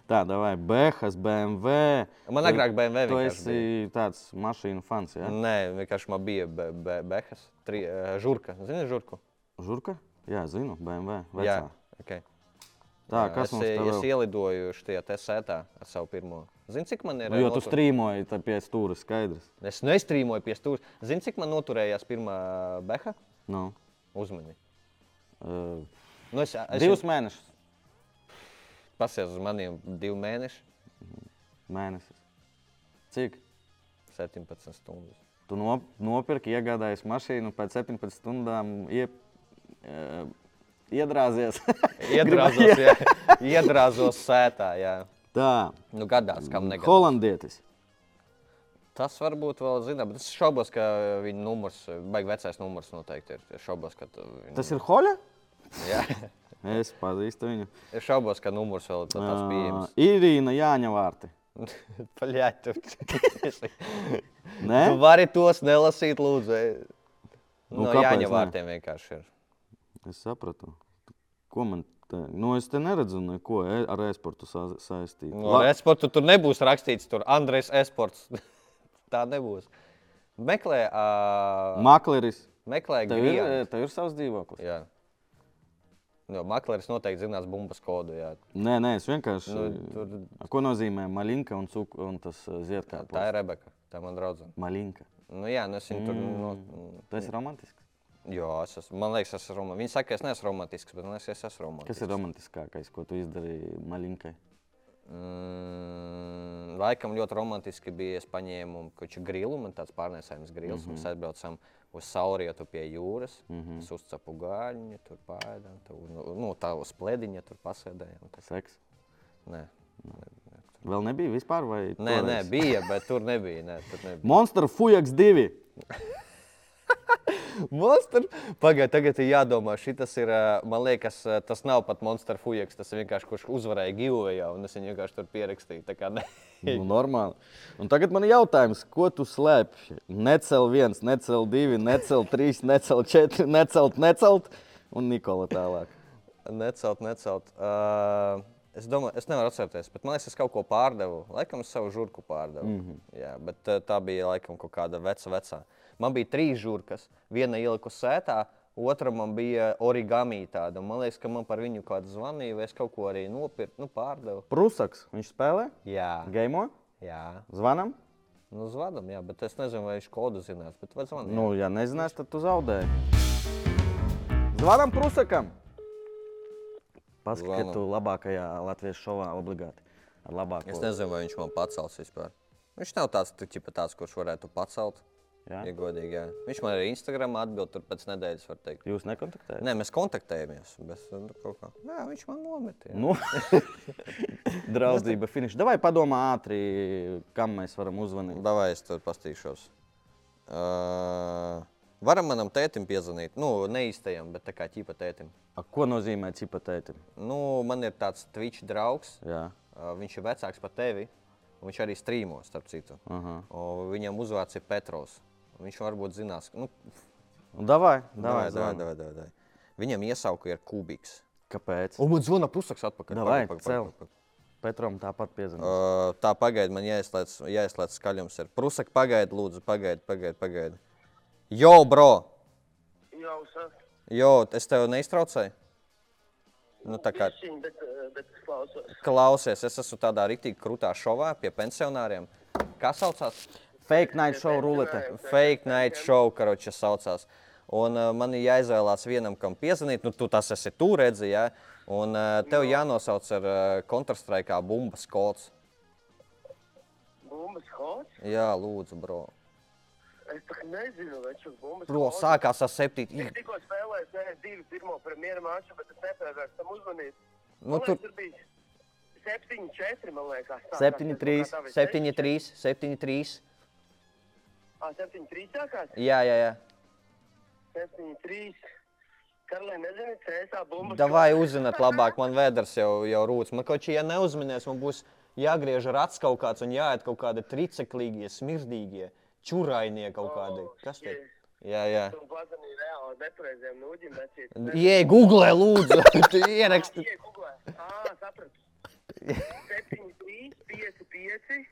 Speaker 2: Tā, vai Behas, BMW.
Speaker 1: Man
Speaker 2: Tu-
Speaker 1: agrāk BMW
Speaker 2: Tu
Speaker 1: vienkārši
Speaker 2: esi tāds mašīnu fans, jā? Ja?
Speaker 1: Nē, vienkārši man bija be, be, behas, tri, eh, žurka. Zini, žurku?
Speaker 2: Žurka? Jā, zinu, BMW.
Speaker 1: Jā,
Speaker 2: Vecā.
Speaker 1: okay.
Speaker 2: Tā, kas
Speaker 1: es,
Speaker 2: mums
Speaker 1: eh,
Speaker 2: te
Speaker 1: es
Speaker 2: vēl?
Speaker 1: ielidoju šajā te sētā ar savu pirmo. Zini, cik man ir?
Speaker 2: Nu,
Speaker 1: eh,
Speaker 2: jo tu
Speaker 1: notur-
Speaker 2: strīmoji tā pie stūra, skaidrs.
Speaker 1: Es nestrīmoju pie stūra. Zini, cik man noturējās pirmā beha?
Speaker 2: Nu,
Speaker 1: Uzmani.
Speaker 2: uh,
Speaker 1: Nu, es es
Speaker 2: divus mēnešus.
Speaker 1: pasies uz maniem divu mēnešu,
Speaker 2: Mēnesis. Cik?
Speaker 1: 17 stundas.
Speaker 2: Tu no, nopirki, iegādājies mašīnu, pēc 17 stundām ie, uh, iedrāzies.
Speaker 1: Iedrāzos, jā. Iedrāzos sētā, jā.
Speaker 2: Tā,
Speaker 1: Nu, gadās, kam negadās.
Speaker 2: holandietis.
Speaker 1: Tas varbūt vēl zina, bet es šaubos, ka viņa numurs, baigi vecais numurs noteikti ir. Es šaubos, ka tu- viņa...
Speaker 2: Tas ir Hoļa?
Speaker 1: Jā.
Speaker 2: Es pazīstu viņu.
Speaker 1: Es šaubos, ka numurs vēl tā-
Speaker 2: Ah.
Speaker 1: tāds pieejams.
Speaker 2: Ā, Irīna Jāņa vārti.
Speaker 1: Paļāt, tu.
Speaker 2: Nē,
Speaker 1: tu vari tos nelasīt, lūdzu. ej.
Speaker 2: Nu,
Speaker 1: No
Speaker 2: kāpēc
Speaker 1: Jāņa
Speaker 2: ne?
Speaker 1: vārtiem vienkārši ir.
Speaker 2: es sapratu. Ko man te? Nu, es te neredzu neko e- ar e-sportu sa saistītu.
Speaker 1: Nu, ar esportu tur nebūs rakstīts, tur Andrejs Esports. tā nebūs. Meklē, uh,
Speaker 2: Makleris.
Speaker 1: meklē
Speaker 2: Tev ir,
Speaker 1: grāmatā.
Speaker 2: e, tev ir savs dzīvoklis.
Speaker 1: Jā, no, Maklers noteikti zinās bumbas kodu. Jā.
Speaker 2: Nē, nē, es vienkārši.
Speaker 1: Nu,
Speaker 2: Nu,
Speaker 1: tur,
Speaker 2: Ko nozīmē malinka un, cuk, un tas ziedkāpjas?
Speaker 1: tā ir Rebeka, tā man draudzene.
Speaker 2: malinka.
Speaker 1: Nu, jā, nu, es viņu tur. No,
Speaker 2: Mm. Tu esi romantisks.
Speaker 1: jā, es esmu. Man liekas, es esmu romantisks. Viņa saka, es neesmu romantisks, bet man liekas, es esmu
Speaker 2: Kas
Speaker 1: romantisks.
Speaker 2: ir romantiskākais, ko tu izdarīji malinkai?
Speaker 1: Mm, laikam ļoti romantiski bija. Es paņēmu koču grilu, man tāds pārnēsājums grils.
Speaker 2: Mhm.
Speaker 1: Mm -hmm. Mēs aizbraucām uz saulrietu pie jūras. Mm -hmm. Es uzcepu gāļiņu, tur pāēdām. Tur, nu, nu, tā uz plēdiņa tur pasēdējām. Tas,
Speaker 2: Seks.
Speaker 1: nē.
Speaker 2: Vēl nebija vispār?
Speaker 1: Nē,
Speaker 2: vai toreiz?
Speaker 1: nē, bija, bet tur nebija. Nē, tur nebija.
Speaker 2: Monster Fujaks 2.
Speaker 1: Monster. Pagaidiet, tagad ir jādomā, šis ir. ā, Man liekas, ā, tas nav pat monster fujaks. Tas ir vienkārši kurš uzvarēja Gigavējā, un es viņu vienkārši tur pierakstīju. Tā kā, ne.
Speaker 2: Nu, normāli. Un tagad man ir jautājums, ko tu slēpj? Necel viens, necel divi, necel trīs, necel četri, necelt, necelt un Nikola tālāk.
Speaker 1: Necelt, necelt. Uh, es domāju, es nevaru atcerēties, bet man liekas, es kaut ko pārdevu. Laikam es savu žurku pārdevu. Mm -hmm. Jā, bet uh, tā bija laikam kaut kāda veca, vecā. Man bija trīs žurkas. Viena ieliku sētā, otra man bija origami tāda. Man liekas, ka man par viņu kāds zvanīja, vai es kaut ko arī nopirku, nu, pārdevu.
Speaker 2: Prusaks, viņš spēlē,
Speaker 1: Jā,
Speaker 2: game,
Speaker 1: jā.
Speaker 2: zvanam.
Speaker 1: Nu, zvadam, jā, bet es nezinu, vai viņš kodu zinās. Bet vai zvanīt?
Speaker 2: Nu, ja nezinās, tad tu zaudēji. Zvanam Prusakam!
Speaker 1: Zvanam.
Speaker 2: Paskatieties, tu labākajā latviešu šovā obligāti. Ar
Speaker 1: Es
Speaker 2: labāko.
Speaker 1: nezinu, vai viņš man pacels vispār. Viņš nav tāds, tu, ķipa, tāds kurš varētu pacelt.
Speaker 2: Jā?
Speaker 1: Ja godīgi, jā. Viņš man arī Instagram atbild tur pēc nedēļas, var teikt.
Speaker 2: Jūs nekontaktējat?
Speaker 1: Nē, mēs kontaktējamies. Bet, nu, kaut kā. Nē, viņš man nometīs.
Speaker 2: Nu, draudzība, finiša. Davai padomā ātri, kam mēs varam uzvanīt.
Speaker 1: Davai, es tur pastīšos. Uh, varam manam tētim piezvanīt. Nu, ne īstajam, bet tā kā ķipa tētim.
Speaker 2: A, ko nozīmē cipatēti?
Speaker 1: Nu, man ir tāds Twitch draugs.
Speaker 2: Jā.
Speaker 1: Uh, viņš ir vecāks par tevi. Viņš arī strīmo, starp citu.
Speaker 2: Aha.
Speaker 1: O, viņam uzvārds ir Petros. Viņš varbūt zinās, ka. Nu,
Speaker 2: Nu, Davai,
Speaker 1: davai,
Speaker 2: davai,
Speaker 1: davai,
Speaker 2: davai.
Speaker 1: davai, davai, davai. Viņam iesauka ir kubiks.
Speaker 2: Kāpēc?
Speaker 1: Un man zvana pusaks atpakaļ.
Speaker 2: Davai,
Speaker 1: Pagaid, pagaid,
Speaker 2: cel.
Speaker 1: pagaid, pagaid.
Speaker 2: Petram tāpat piezīmēs.
Speaker 1: Uh, tā pagaidi, man jāizslēdz, jāizslēdz skaļums. Ir. Prusak, pagaidi, lūdzu, pagaidi, pagaidi. pagaidi. Jo, bro!
Speaker 3: Jau sāk.
Speaker 1: Jo, es tev neiztraucēju? Nu, tā kā
Speaker 3: Pišķiņ, bet, eh, bet es klausos.
Speaker 1: klausies, es esmu tādā rīktīgi krūtā šovā pie pensionāriem. Kā saucās?
Speaker 2: Fake night show rulete.
Speaker 1: Fake night show, karoče, saucās. Un uh, man ir jāizvēlās vienam, kam piezvanīt. Nu, tu tas esi tu redzi, jā. Un uh, tev jānosauc ar uh, Counter-Strike bumbas kods.
Speaker 3: Bumbas hots?
Speaker 1: Jā, lūdzu, bro.
Speaker 3: Es pat nezinu, vai šis bumbas
Speaker 1: Bro,
Speaker 3: hots.
Speaker 1: sākās ar septīti.
Speaker 3: Es tikko spēlēju CS2 pirmo premjeru maču, bet es nepievērstu tam uzmanību.
Speaker 1: Nu,
Speaker 3: Man
Speaker 1: tur-
Speaker 3: liekas, tur bija 7-4, man liekas. sākās.
Speaker 2: 7-3,
Speaker 3: Tā vai
Speaker 1: 7, 3, 7, 3.
Speaker 3: Ā, 7-3 sākās?
Speaker 1: Jā, jā, jā.
Speaker 3: 7-3. Karlē, nezini, CS bumbas
Speaker 1: Davai uzzināt labāk, man vēders jau, jau rūc. Man kaut kā, ja neuzminēs, man būs jāgriež rats kaut kāds un jāiet kaut kādi triceklīgie, smirdīgie, čurainie kaut kādi. Kas tie? Jā, jā.
Speaker 3: Tu pazanīji reāli nepareiziem nūģim, bet šī...
Speaker 1: Iej, googlē, lūdzu, Tu ieraksti.
Speaker 3: Ie, googlē. Ā, sapratu. 7-3, 5-5,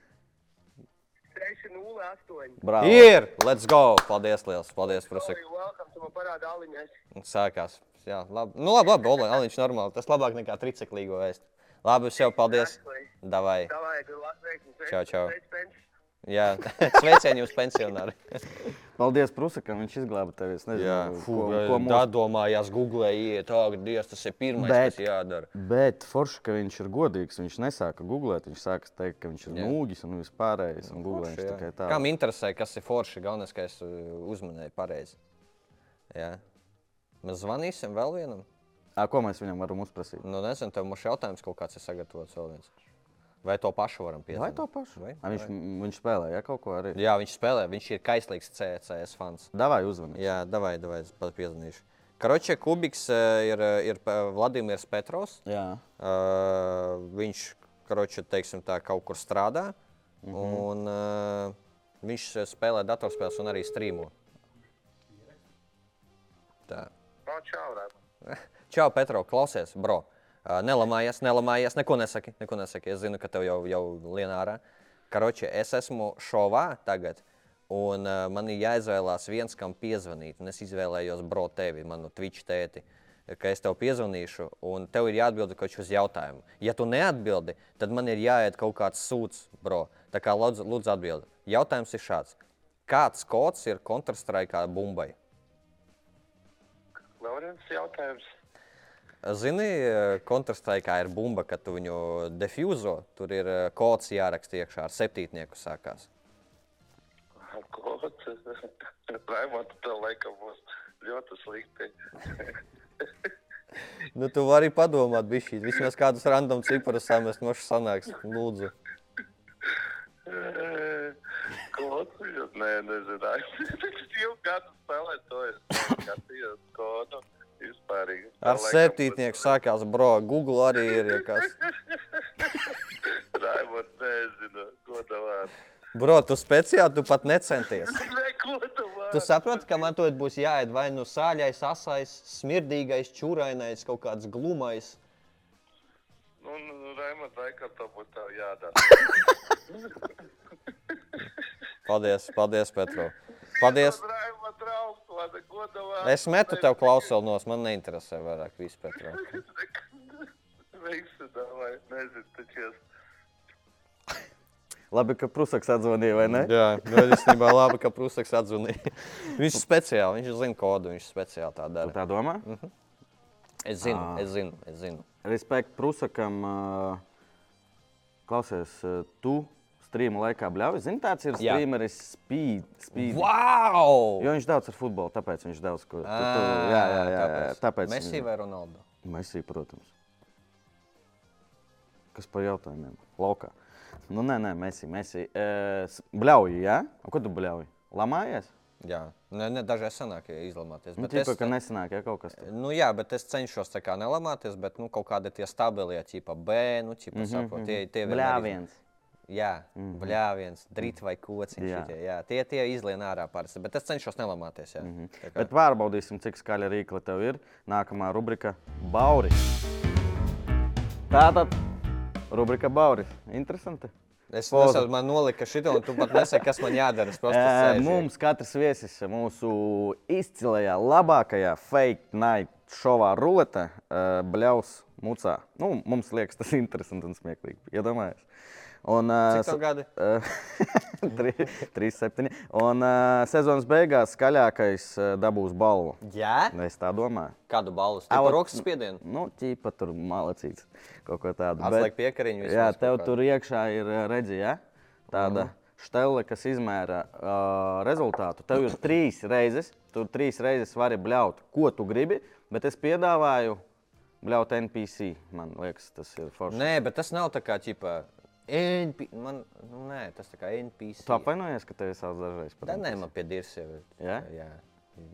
Speaker 3: 6-0-8.
Speaker 2: Bravo.
Speaker 1: Ir, let's go! Paldies, liels, paldies, prasek.
Speaker 3: Sorry, welcome, tu man parādi aliņas.
Speaker 1: Sākās. Jā, labi. Nu, labi, labi, Ola, Aliņš normāli. Tas labāk nekā triceklīgo vēst. Labi, sev paldies. Davai.
Speaker 3: Davai, tu lasveikums.
Speaker 1: Čau, čau.
Speaker 3: Sveiks, Pens.
Speaker 1: Jā, sveicieni jums pensionāri.
Speaker 2: Paldies, Prusakam, viņš izglāba tevi. Es nezinu,
Speaker 1: fū,
Speaker 2: ko, ko
Speaker 1: ko
Speaker 2: mums
Speaker 1: mums... domājās, googlē, iet, ak, Dievs, tas ir pirmais, Bet.
Speaker 2: Bet-
Speaker 1: kas jādara.
Speaker 2: Bet forši, ka viņš ir godīgs. Viņš nesāka googlēt, viņš sāka teikt, ka viņš ir
Speaker 1: Jā.
Speaker 2: nūģis un vispārējais. Un googlē viņš
Speaker 1: Forši, jā.
Speaker 2: tikai tā.
Speaker 1: Kam interesē, kas ir forši? Galvenais, ka es uh, uzmanēju pareizi. Jā. Mēs zvanīsim vēl vienam.
Speaker 2: Ā, ko mēs viņam varam uzprasīt?
Speaker 1: Nu, nezinu, tev mums jautājums kaut kāds ir sagatavots vēl viens. Vai to pašu varam
Speaker 2: Vai
Speaker 1: piedzīvot?
Speaker 2: to pašu?
Speaker 1: Vai?
Speaker 2: Ā, viņš, viņš spēlē, ja kaut ko arī.
Speaker 1: Jā, viņš spēlē, viņš ir kaislīgs CCS fans.
Speaker 2: Davai uzvanīt.
Speaker 1: Jā, davai, davai, es pat piezvanīšu. Karoče, Kubiks eh, ir, eh, ir eh, Vladimirs Petrovs.
Speaker 2: Jā.
Speaker 1: Uh, viņš karoči, teiksim, tā, kaut kur strādā. Mm -hmm. un, uh, viņš eh, spēlē datorspēles un arī strīmo. Tā.
Speaker 3: No, čau, rēp.
Speaker 1: Čau, Petro, klausies, bro. Uh, nelamājies, nelamājies, neko nesaki, neko nesaki. Es zinu, ka tev jau, jau lienā ārā. Karoči, es esmu šovā tagad. Un uh, man ir jāizvēlās viens, kam piezvanīt. Un es izvēlējos, bro, tevi, manu Twitch tēti, ka es tev piezvanīšu, un tev ir jāatbild kaut uz jautājumu. Ja tu neatbildi, tad man ir jāiet kaut kāds sūds, bro. Tā kā lūdzu, lūdzu atbildi. Jautājums ir šāds. Kāds kods ir Counter-Strike bumbai?
Speaker 3: Nav viens jautājums.
Speaker 1: Zini, kontrastrāta ir bumba, kad tu viņu defuzo. Tur ir eh, kods jāraksta iekšā, ar septītnieku sākās.
Speaker 3: Ko tu? Raimond, tev laikam būs ļoti slikti.
Speaker 1: Nu, tu vari padomāt, bija šī. Vismaz kādus random ciparus samest, no šīs sanāks. Lūdzu,
Speaker 3: Ko tu? Nē, nezināju. Es jau gadu spēlēju to, es skatījos kodu. Vispārīgi.
Speaker 1: ar septītnieku sākās, bro. Google arī ir. ja Kas.
Speaker 3: Raimond, nezinu, ko tev vārds.
Speaker 1: Bro, tu speciāli, tu pat necenties.
Speaker 3: Neko tev
Speaker 1: Tu
Speaker 3: vārds.
Speaker 1: saproti, ka man to būs jāiet vai nu sāļais, asais, smirdīgais, čūrainais, kaut kāds glumais.
Speaker 3: Un Raimond, laikam tev būtu tev jādara.
Speaker 1: Paldies, paldies, Petro. Paldies.
Speaker 3: Raima draugs, lada godavā.
Speaker 1: Es metu tev klausulos, man neinteresē vairāk vispār, Petro.
Speaker 3: Veiksi, davai, nezinu, tačies.
Speaker 2: Labi, ka Prusaks atzvanīja, vai ne?
Speaker 1: Jā, ļoti īstenībā labi, ka Prūsakas atzvanīja. Viņš speciāli, viņš zina kodu, viņš speciāli tā
Speaker 2: Tu
Speaker 1: dara.
Speaker 2: tā domā?
Speaker 1: Es zinu,
Speaker 2: Ah.
Speaker 1: es zinu, es zinu.
Speaker 2: Respekt Prusakam. ā, Klausies, ā, tu streamu laikā bļauj. Zini, tāds ir
Speaker 1: Jā.
Speaker 2: streameris speed. speed.
Speaker 1: Wow!
Speaker 2: Jo viņš daudz ar futbolu, tāpēc viņš daudz ko. Tu, tu, jā, jā, jā, jā, tāpēc.
Speaker 1: Ah, Messi vai Ronaldo?
Speaker 2: Messi, protams. Kas par jautājumiem? Laukā. Nu, nē, nē, Messi. Messi. E, bļauji, jā? A, ko tu bļauji? Lamājies?
Speaker 1: Jā, ne, ne, dažreiz sanāk ja izlamāties.
Speaker 2: Nu,
Speaker 1: bet
Speaker 2: Tikko,
Speaker 1: es-
Speaker 2: ka nesanāk, ja kaut kas tāds.
Speaker 1: Nu, jā, bet es cenšos tā kā nelamāties, bet nu, kaut kādi tie stabilie, tipa B, nu, tipa, mm -hmm, saprot, tie, tie vienmēr iz-
Speaker 2: Mhm, Bļāviens. Mhm.
Speaker 1: Jā, mm -hmm. bļāviens, drīt vai kociņš.
Speaker 2: Jā.
Speaker 1: Šitie, jā. Tie, tie izlien ārā parasti, bet es cenšos nelamāties. Jā. Mm -hmm.
Speaker 2: Mhm. Bet pārbaudīsim, cik skaļa rīkla tev ir. Nākamā rubrika - Bauris. Tātad, rubrika Bauris. Interesanti.
Speaker 1: Es
Speaker 2: Foto.
Speaker 1: nesaprotu, man nolika šito, un tu pat nesaki, kas man jādara. Es
Speaker 2: Ē,
Speaker 1: vienkārši sēžu.
Speaker 2: Mums katrs viesis mūsu izcilajā, labākajā fake night šovā ruletē bļaus mucā. Nu, mums liekas, tas ir interesanti un smieklīgi. Iedomājies. Un, ā,
Speaker 1: Cik tev gadi?
Speaker 2: Eh, tri- trīs, septiņi. Un ā, sezonas beigās skaļākais ā, dabūs balvu.
Speaker 1: Jā,
Speaker 2: Es tā domāju.
Speaker 1: kādu balvu?
Speaker 2: Ā,
Speaker 1: Tāpat
Speaker 2: vot-
Speaker 1: rokas spiedienu.
Speaker 2: Nu, ķīpa tur malacīts. Kaut ko tādu.
Speaker 1: Atliek piekariņu.
Speaker 2: jā,
Speaker 1: vismaz
Speaker 2: tev
Speaker 1: kaut Mhm.
Speaker 2: tur iekšā ir ā, redzi, ja? tāda štela, kas izmēra uh, rezultātu. Tev ir trīs reizes, tur trīs reizes vari bļaut, ko tu gribi, bet es piedāvāju bļaut NPC. Man liekas, tas ir forši.
Speaker 1: Nē, bet tas nav tā kā ķipa. NP... Man, nu, nē, tas tā kā NPC.
Speaker 2: Tu apvainojies, ka tev ir savs dažreiz
Speaker 1: Tā
Speaker 2: patīk.
Speaker 1: nē, man pie dirs jau ir.
Speaker 2: Jā?
Speaker 1: jā.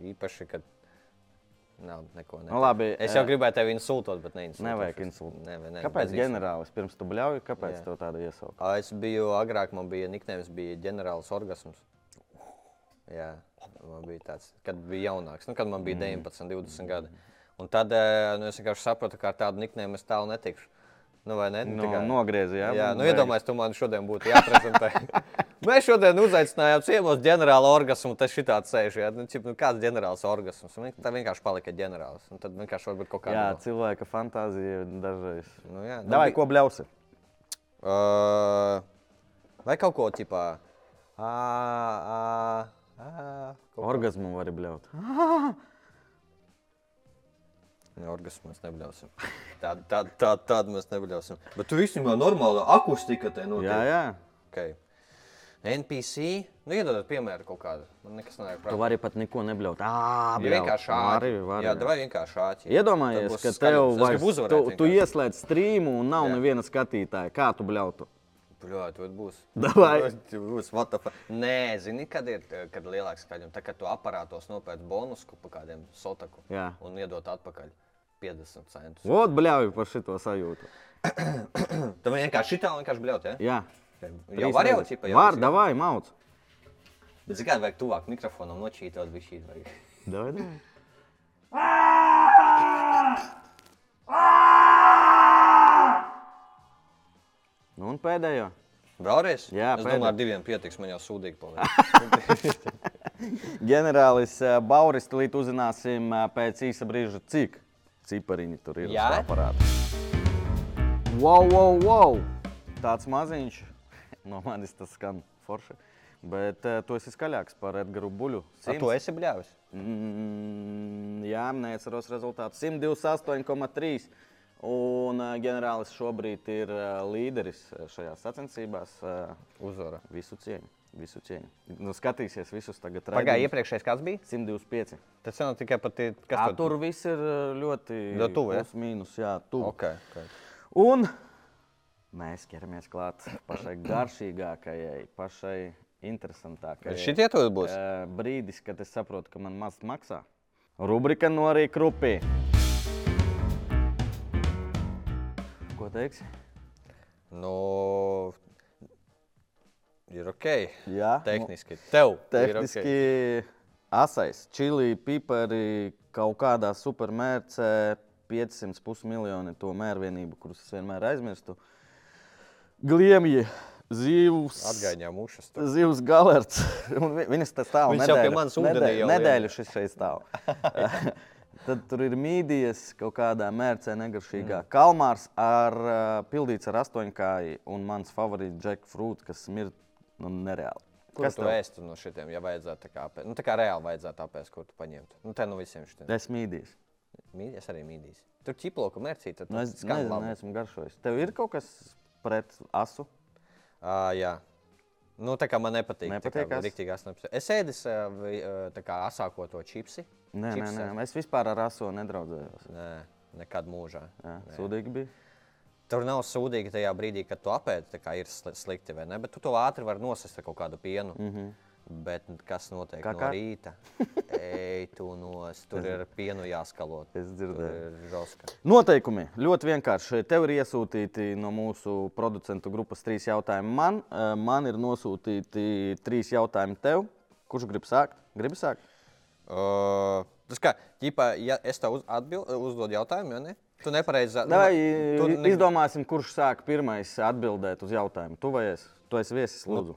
Speaker 1: Īpaši, kad nav neko.
Speaker 2: Nu, labi,
Speaker 1: es
Speaker 2: eh,
Speaker 1: jau gribēju tevi insultot, bet neinsultot.
Speaker 2: Nevajag insultēt.
Speaker 1: Nē, nē,
Speaker 2: Kāpēc
Speaker 1: bez insulta.
Speaker 2: ģenerālis pirms tu bļauj, kāpēc
Speaker 1: Jā.
Speaker 2: tev tāda iesauka?
Speaker 1: Ā, Es biju agrāk, man bija niknējums, bija ģenerālis orgasms. Jā, man bija tāds, kad bija jaunāks, nu, kad man
Speaker 2: Mm.
Speaker 1: bija 19, 20 gadi. Un tad eh, nu, es vienkārši sapratu, ka ar tādu niknēm es tālu netikšu. Nu, vai ne? Nu,
Speaker 2: No, nogriezi, jā?
Speaker 1: Jā,
Speaker 2: man
Speaker 1: nu
Speaker 2: vajag.
Speaker 1: iedomājieties, tu man šodien būtu jāprezentē. Mēs šodien uzaicinājām ciemos ģenerāla orgasmu, tas šitā sēž. Jā, nu, cip, nu, kāds ģenerāls orgasms? Un vien- Tā vienkārši palika ģenerālis. Un tad vienkārši varbūt kaut
Speaker 2: Jā,
Speaker 1: kāda.
Speaker 2: cilvēka fantāzija dažreiz.
Speaker 1: Nu, jā, nu,
Speaker 2: Davai,
Speaker 1: bija-
Speaker 2: ko bļausi?
Speaker 1: Ā, Vai kaut ko tipā? Ā, ā, ā, kaut-
Speaker 2: Orgasmu var bļaut.
Speaker 1: Ne, Orgasmu mēs nebļausim. Tādu tā, tā, tā mēs nebļausim. Bet tu īstenībā normāla akustika te notiek.
Speaker 2: Jā, jā.
Speaker 1: Okay. NPC, nu iedodat piemēru kaut kādu. Man nekas nav
Speaker 2: Tu
Speaker 1: prātā.
Speaker 2: vari pat neko nebļaut. Ā,
Speaker 1: Ja
Speaker 2: bļaut.
Speaker 1: vienkārši
Speaker 2: Vari,
Speaker 1: āķi.
Speaker 2: vari.
Speaker 1: Jā, davai vienkārši āķi.
Speaker 2: Iedomājies,
Speaker 1: Tad
Speaker 2: ka
Speaker 1: būs
Speaker 2: tev
Speaker 1: skaļums. Es
Speaker 2: vairs,
Speaker 1: gribu
Speaker 2: tu,
Speaker 1: uzvarēt.
Speaker 2: tu ieslēdz streamu un nav
Speaker 1: Jā.
Speaker 2: neviena skatītāja. Kā tu bļautu?
Speaker 1: Bļāt, vai būs?
Speaker 2: Davai.
Speaker 1: Vai Būs, what the fuck. Nē, zini, kad ir eh, kad lielāks skaļums. Tā kā tu aparātos nopērc bonusku pa kādiem sotaku
Speaker 2: Jā.
Speaker 1: un iedot atpakaļ 50 centus.
Speaker 2: Vot bļauju par šito sajūtu.
Speaker 1: Tam Nu, vienkārši šitā vienkārši bļaut, ja?
Speaker 2: Jā.
Speaker 1: Jau var jau, tipa, jau.
Speaker 2: Var, davai, mauc.
Speaker 1: Bet zini, kā vajag tuvāk mikrofonam nočītot bišķīt vajag.
Speaker 2: Davai, davai. Nu un pēdējo.
Speaker 1: Vēlreiz?
Speaker 2: Jā,
Speaker 1: es
Speaker 2: pēdējo.
Speaker 1: domāju, ar diviem pietiks, man jau sūdīgi paliek.
Speaker 2: Ģenerālis eh, Bauris, tūlīt uzzināsim eh, pēc īsa brīža, cik cipariņi tur ir. uz
Speaker 1: Jā?
Speaker 2: tā aparāta. Wow, wow, wow! Tāds maziņš. No manis tas skan forši. Bet eh, tu esi skaļāks par Edgars Buļu.
Speaker 1: A, tu esi bļāvis?
Speaker 2: Mm, jā, neatceros rezultātu. 128,3. Un eh, ģenerālis šobrīd ir eh, līderis eh, šajās sacensībās. eh,
Speaker 1: Uzvara.
Speaker 2: Visu cieņu. Visu cieņu. Nu, skatīsies visus tagad.
Speaker 1: Pagāj,
Speaker 2: raidījumus.
Speaker 1: iepriekšējais kāds bija?
Speaker 2: 125.
Speaker 1: Tas jau tikai pat ir,
Speaker 2: Kā
Speaker 1: kas
Speaker 2: tur viss ir uh, ļoti
Speaker 1: Ļoti tuvu, ja?
Speaker 2: plus, mīnus, jā, tuvu.
Speaker 1: Ok, ok.
Speaker 2: Un mēs ķeramies klāt pašai garšīgākajai, pašai interesantākajai.
Speaker 1: Šitie tu būs?
Speaker 2: uh, brīdis, kad es saprotu, ka man maz maksā. Rubrika no arī krupī. Ko teiksi?
Speaker 1: Nu, ir ok.
Speaker 2: Jā, nu,
Speaker 1: Tehniski. Tev
Speaker 2: Tehniski
Speaker 1: ir ok.
Speaker 2: okay. asais, čili, pipari, kaut kādā supermērcē 500 pusmiljoni to mērvienību, kurus es vienmēr aizmirstu. Gliemji, zivs.
Speaker 1: Atgaiņā mūšas. tu.
Speaker 2: Zivs galerts. Un vi- Viņas tas stāv
Speaker 1: Viņš jau pie
Speaker 2: nedēļu-
Speaker 1: manis ūdenī
Speaker 2: nedēļu-
Speaker 1: jau liek.
Speaker 2: Nedēļu šis šeit stāv. Tad tur ir mīdijas kaut kādā mērcē
Speaker 1: Mhm.
Speaker 2: negaršīgā. Mm. Kalmārs ar uh, pildīts ar astoņkāju un mans favorīts jackfruit, kas smird nu, nereāli.
Speaker 1: Kur Kas tu
Speaker 2: tev?
Speaker 1: ēstu no šitiem, ja vajadzētu tā kā apēst? Nu, tā kā reāli vajadzētu apēst, kur tu paņemtu. Nu, te no visiem šitiem.
Speaker 2: Es mīdīju.
Speaker 1: Mīd, es arī mīdīšu. Tur ķiploku mērcī, tad
Speaker 2: Nu,
Speaker 1: nu,
Speaker 2: es
Speaker 1: skan
Speaker 2: nezinu,
Speaker 1: labi.
Speaker 2: neesmu garšojis. Tev ir kaut kas pret asu?
Speaker 1: Ā, jā. Nu, tā kā man nepatīk.
Speaker 2: Nepatīk
Speaker 1: tā kā
Speaker 2: as?
Speaker 1: riktīgi es nepatīk. Es ēdis ā, vi- ā, tā kā asāko to čipsi.
Speaker 2: Nē, nē,
Speaker 1: Čips
Speaker 2: nē. Es vispār ar asu nedraudzējos.
Speaker 1: Nē, nekad mūžā.
Speaker 2: Jā, Sūdīgi bija.
Speaker 1: Tur nav sūdīgi
Speaker 2: Mhm.
Speaker 1: tajā brīdī, kad tu apēdi, tā kā ir sli- slikti, vai ne? Bet tu to ātri vari nosist ar kaut kādu pienu. Mm -hmm. Bet kas notiek
Speaker 2: Kā
Speaker 1: kā, kā?
Speaker 2: kā?
Speaker 1: no rīta? Ei, tu nos, tur ir pienu jāskalo.
Speaker 2: Es dzirdēju.
Speaker 1: Tur ir žoska.
Speaker 2: Noteikumi ļoti vienkārši. Tev ir iesūtīti no mūsu producentu grupas trīs jautājumi. Man, Eh, man ir nosūtīti trīs jautājumi tev. Kurš grib sākt? Gribu sākt.
Speaker 1: Uh, tas kā, ģipā, ja es tev uz, atbild, uzdodu jautājumu, jau ne? Tu nepareizi at- nu,
Speaker 2: Vai
Speaker 1: tu ne-
Speaker 2: izdomāsim, kurš sāk pirmais atbildēt uz jautājumu? Tu vai es? Tu esi viesis, lūdzu.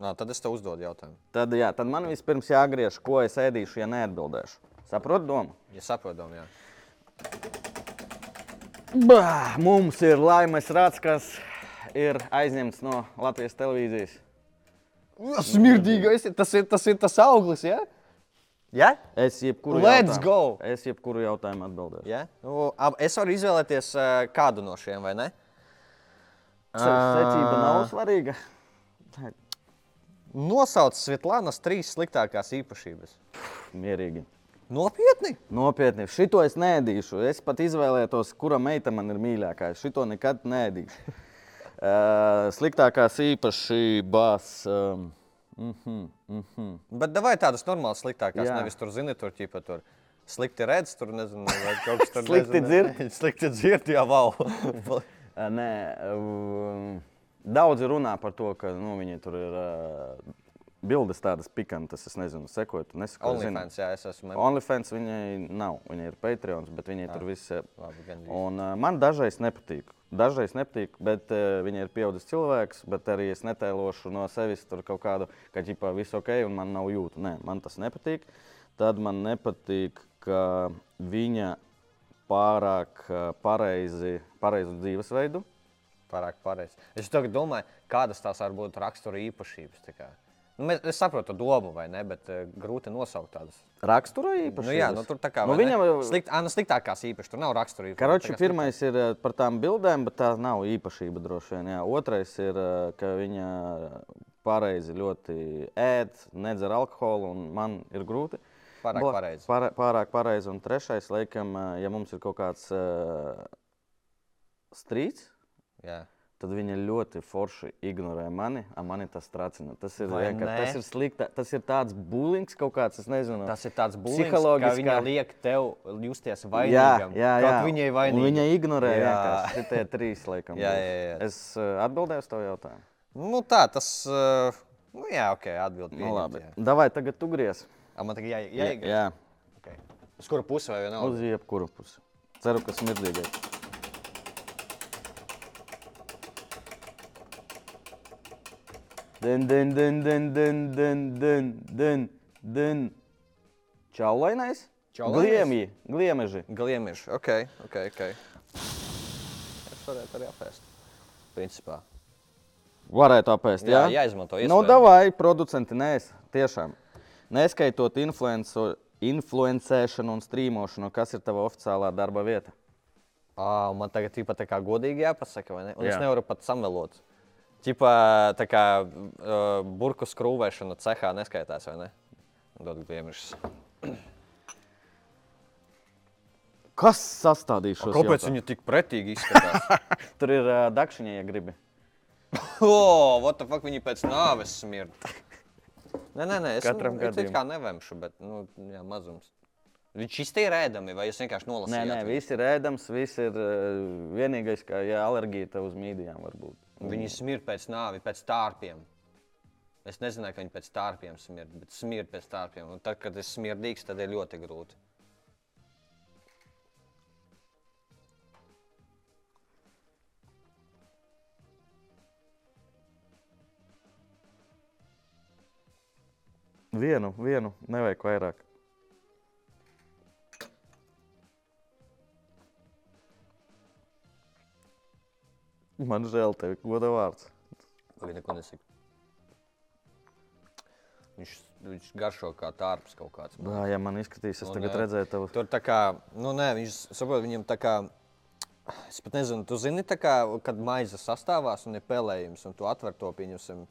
Speaker 1: Nā, tad es tev uzdodu jautājumu.
Speaker 2: Tad, jā, tad man vispirms jāgriež, ko es ēdīšu, ja neatbildēšu. Saprotu domu?
Speaker 1: Ja saprotam, jā.
Speaker 2: Bah, mums ir laimes rāds, kas ir aizņemts no Latvijas televīzijas.
Speaker 4: Smirdīgais, ir- tas ir tas, ir tas auglis, jā?
Speaker 1: Ja?
Speaker 2: Es jebkuru
Speaker 4: Let's
Speaker 2: jautājumu,
Speaker 4: go!
Speaker 2: Es jebkuru jautājumu atbildēšu.
Speaker 1: Ja? Nu, ab, es varu izvēlēties uh, kādu no šiem, vai ne?
Speaker 2: Se- Secība nav svarīga.
Speaker 1: Nosauc Svetlānas trīs sliktākās īpašības.
Speaker 2: Mierīgi.
Speaker 1: Nopietni!
Speaker 2: Nopietni, šito es neēdīšu. Es pat izvēlētos, kura meita man ir mīļākā. Es šito nekad neēdīšu. Uh, sliktākās īpašības. Um,
Speaker 1: Bet vai tādas normālas sliktākās?
Speaker 2: Jā.
Speaker 1: Jā. Nevis tur, zini, tur ķipa tur. Slikti redz, tur nezinu, vai kaut kas tāds -
Speaker 2: Slikti dzird?
Speaker 1: slikti dzird, jā, wow.
Speaker 2: Uh, Nē, um, daudzi runā par to, ka nu, viņi tur ir uh, bildes tādas pikantas. Es nezinu, sekoju, tu nesakoju. zini.
Speaker 1: OnlyFans, jā, es esmu.
Speaker 2: OnlyFans viņai nav. Viņai ir Patreons, bet viņai tur viss ir.
Speaker 1: Labi, gandrīz.
Speaker 2: Un uh, man dažreiz nepatīk. Dažreiz nepatīk, bet uh, viņa ir pieaugušas cilvēks, bet arī es netēlošu no sevis tur kaut kādu, ka ģipā viss ok, un man nav jūtu. Nē, man tas nepatīk. Tad man nepatīk, ka viņa pārāk uh, pareizi, pareizu dzīvesveidu.
Speaker 1: Pārāk pareizi. Es tagad domāju, kādas tās var būt rakstura īpašības. tā kā. Nu, mēs- es saprotu domu, vai ne, bet uh, grūti nosaukt tādas.
Speaker 2: Rakstura īpašības.
Speaker 1: Nu, jā, nu, tur tā kā.
Speaker 2: Nu,
Speaker 1: vai ne?
Speaker 2: viņam, uh,
Speaker 1: slikt, ā, nu, sliktākās īpašības, tur nav rakstura īpašības.
Speaker 2: Karoči,
Speaker 1: tā kā
Speaker 2: pirmais ir eh, par tām bildēm, bet tā nav īpašība droši vien. Jā. Otrais ir, eh, ka viņa eh, pareizi ļoti ēd, nedzer alkoholu, un man ir grūti.
Speaker 1: Pārāk
Speaker 2: Bla-
Speaker 1: pareizi.
Speaker 2: Pāra, pārāk pareizi. Un trešais, laikam, eh, ja mums ir kaut kāds uh, strīds,
Speaker 1: sliktāk- Jā.
Speaker 2: tad viņa ļoti forši ignorē mani, un mani tas tracina. Tas ir,
Speaker 1: Vai
Speaker 2: vienkār-
Speaker 1: ne?
Speaker 2: tas ir slikti. Tas ir tāds bulings kaut kāds, es nezinu.
Speaker 1: Tas ir tāds būtisks, ka
Speaker 2: Psiholoģiskā-
Speaker 1: viņa liek tev justies
Speaker 2: Jā,
Speaker 1: vainīgam.
Speaker 2: jā,
Speaker 1: Kaut
Speaker 2: jā.
Speaker 1: Viņai
Speaker 2: Un
Speaker 1: vainīgi.
Speaker 2: Viņa ignorē
Speaker 1: Jā.
Speaker 2: vienkārši tie trīs, laikam.
Speaker 1: Jā,
Speaker 2: būs.
Speaker 1: jā, jā.
Speaker 2: Es uh, atbildēju uz tavu jautājumu.
Speaker 1: Nu, tā, tas. eh, Nu, jā, ok, atbild.
Speaker 2: Nu, labi.
Speaker 1: Jā.
Speaker 2: Davai, tagad tu griez.
Speaker 1: A, man tagad jā, jā, jā.
Speaker 2: jā.
Speaker 1: Okay. Uz kuru pusi vai vienalga?
Speaker 2: uz jebkuru pusi. Ceru, ka smirdīgais. Den, den, den, den, den, den, den, den, den. Čaulainais?
Speaker 1: Čaulainais?
Speaker 2: Gliemji, gliemeži.
Speaker 1: Gliemež. Ok, ok, ok. Es varētu arī apēst. Principā.
Speaker 2: Varētu apēst. Jā,
Speaker 1: Jā, jāizmanto
Speaker 2: Nu,
Speaker 1: iespēju.
Speaker 2: davai, producenti, nē, es tiešām. Neskaitot influenco, influencēšanu un strīmošanu, kas ir tava oficiālā darba vieta?
Speaker 1: À, man tagad ir pat tā kā godīgi jāpasaka, vai ne? Un jā.
Speaker 2: Jā.
Speaker 1: es nevaru pat samelot. Tipā tā kā uh, burbuļu skrūvēšana cehā neskaitās, vai ne? Dod gliemežus.
Speaker 2: Kas sastādīs šo
Speaker 1: Kāpēc viņi tik pretīgi izskatās?
Speaker 2: Tur ir uh, dakšiņa, ja gribi.
Speaker 1: o, what the fuck viņi pēc nāves smird. Nē, nē, nē, es
Speaker 2: Katram
Speaker 1: nu, it
Speaker 2: gadījumam.
Speaker 1: kā nevemšu, bet, nu, jā, mazums. Viņš iztīra ēdami, vai jūs vienkārši nolasījāt?
Speaker 2: Nē, nē,
Speaker 1: viņu?
Speaker 2: viss ir ēdams, viss ir uh, vienīgais, kā ja alerģija tev uz mīdijām var būt. Mm.
Speaker 1: Viņi smirda pēc nāves, pēc tārpiem. Es nezināju, ka viņi pēc tārpiem smirda, bet smirda pēc tārpiem. Un tad, kad ir smirdīgs, tad ir ļoti grūti.
Speaker 2: Vienu, vienu, nevajag vairāk. Man žēl tevi, goda vārds.
Speaker 1: Viņa neko nesaka. Viņš, viņš garšo kā tārps kaut kāds.
Speaker 2: Bā, ja man izskatīs, es
Speaker 1: Nu,
Speaker 2: tagad
Speaker 1: nē.
Speaker 2: redzēju tavu
Speaker 1: Tur tā kā, nu nē, viņš saprot, viņam tā kā. Es pat nezinu, tu zini, tā kā, kad maize sastāvās un ir pelējums, un tu atver to pieņemsim.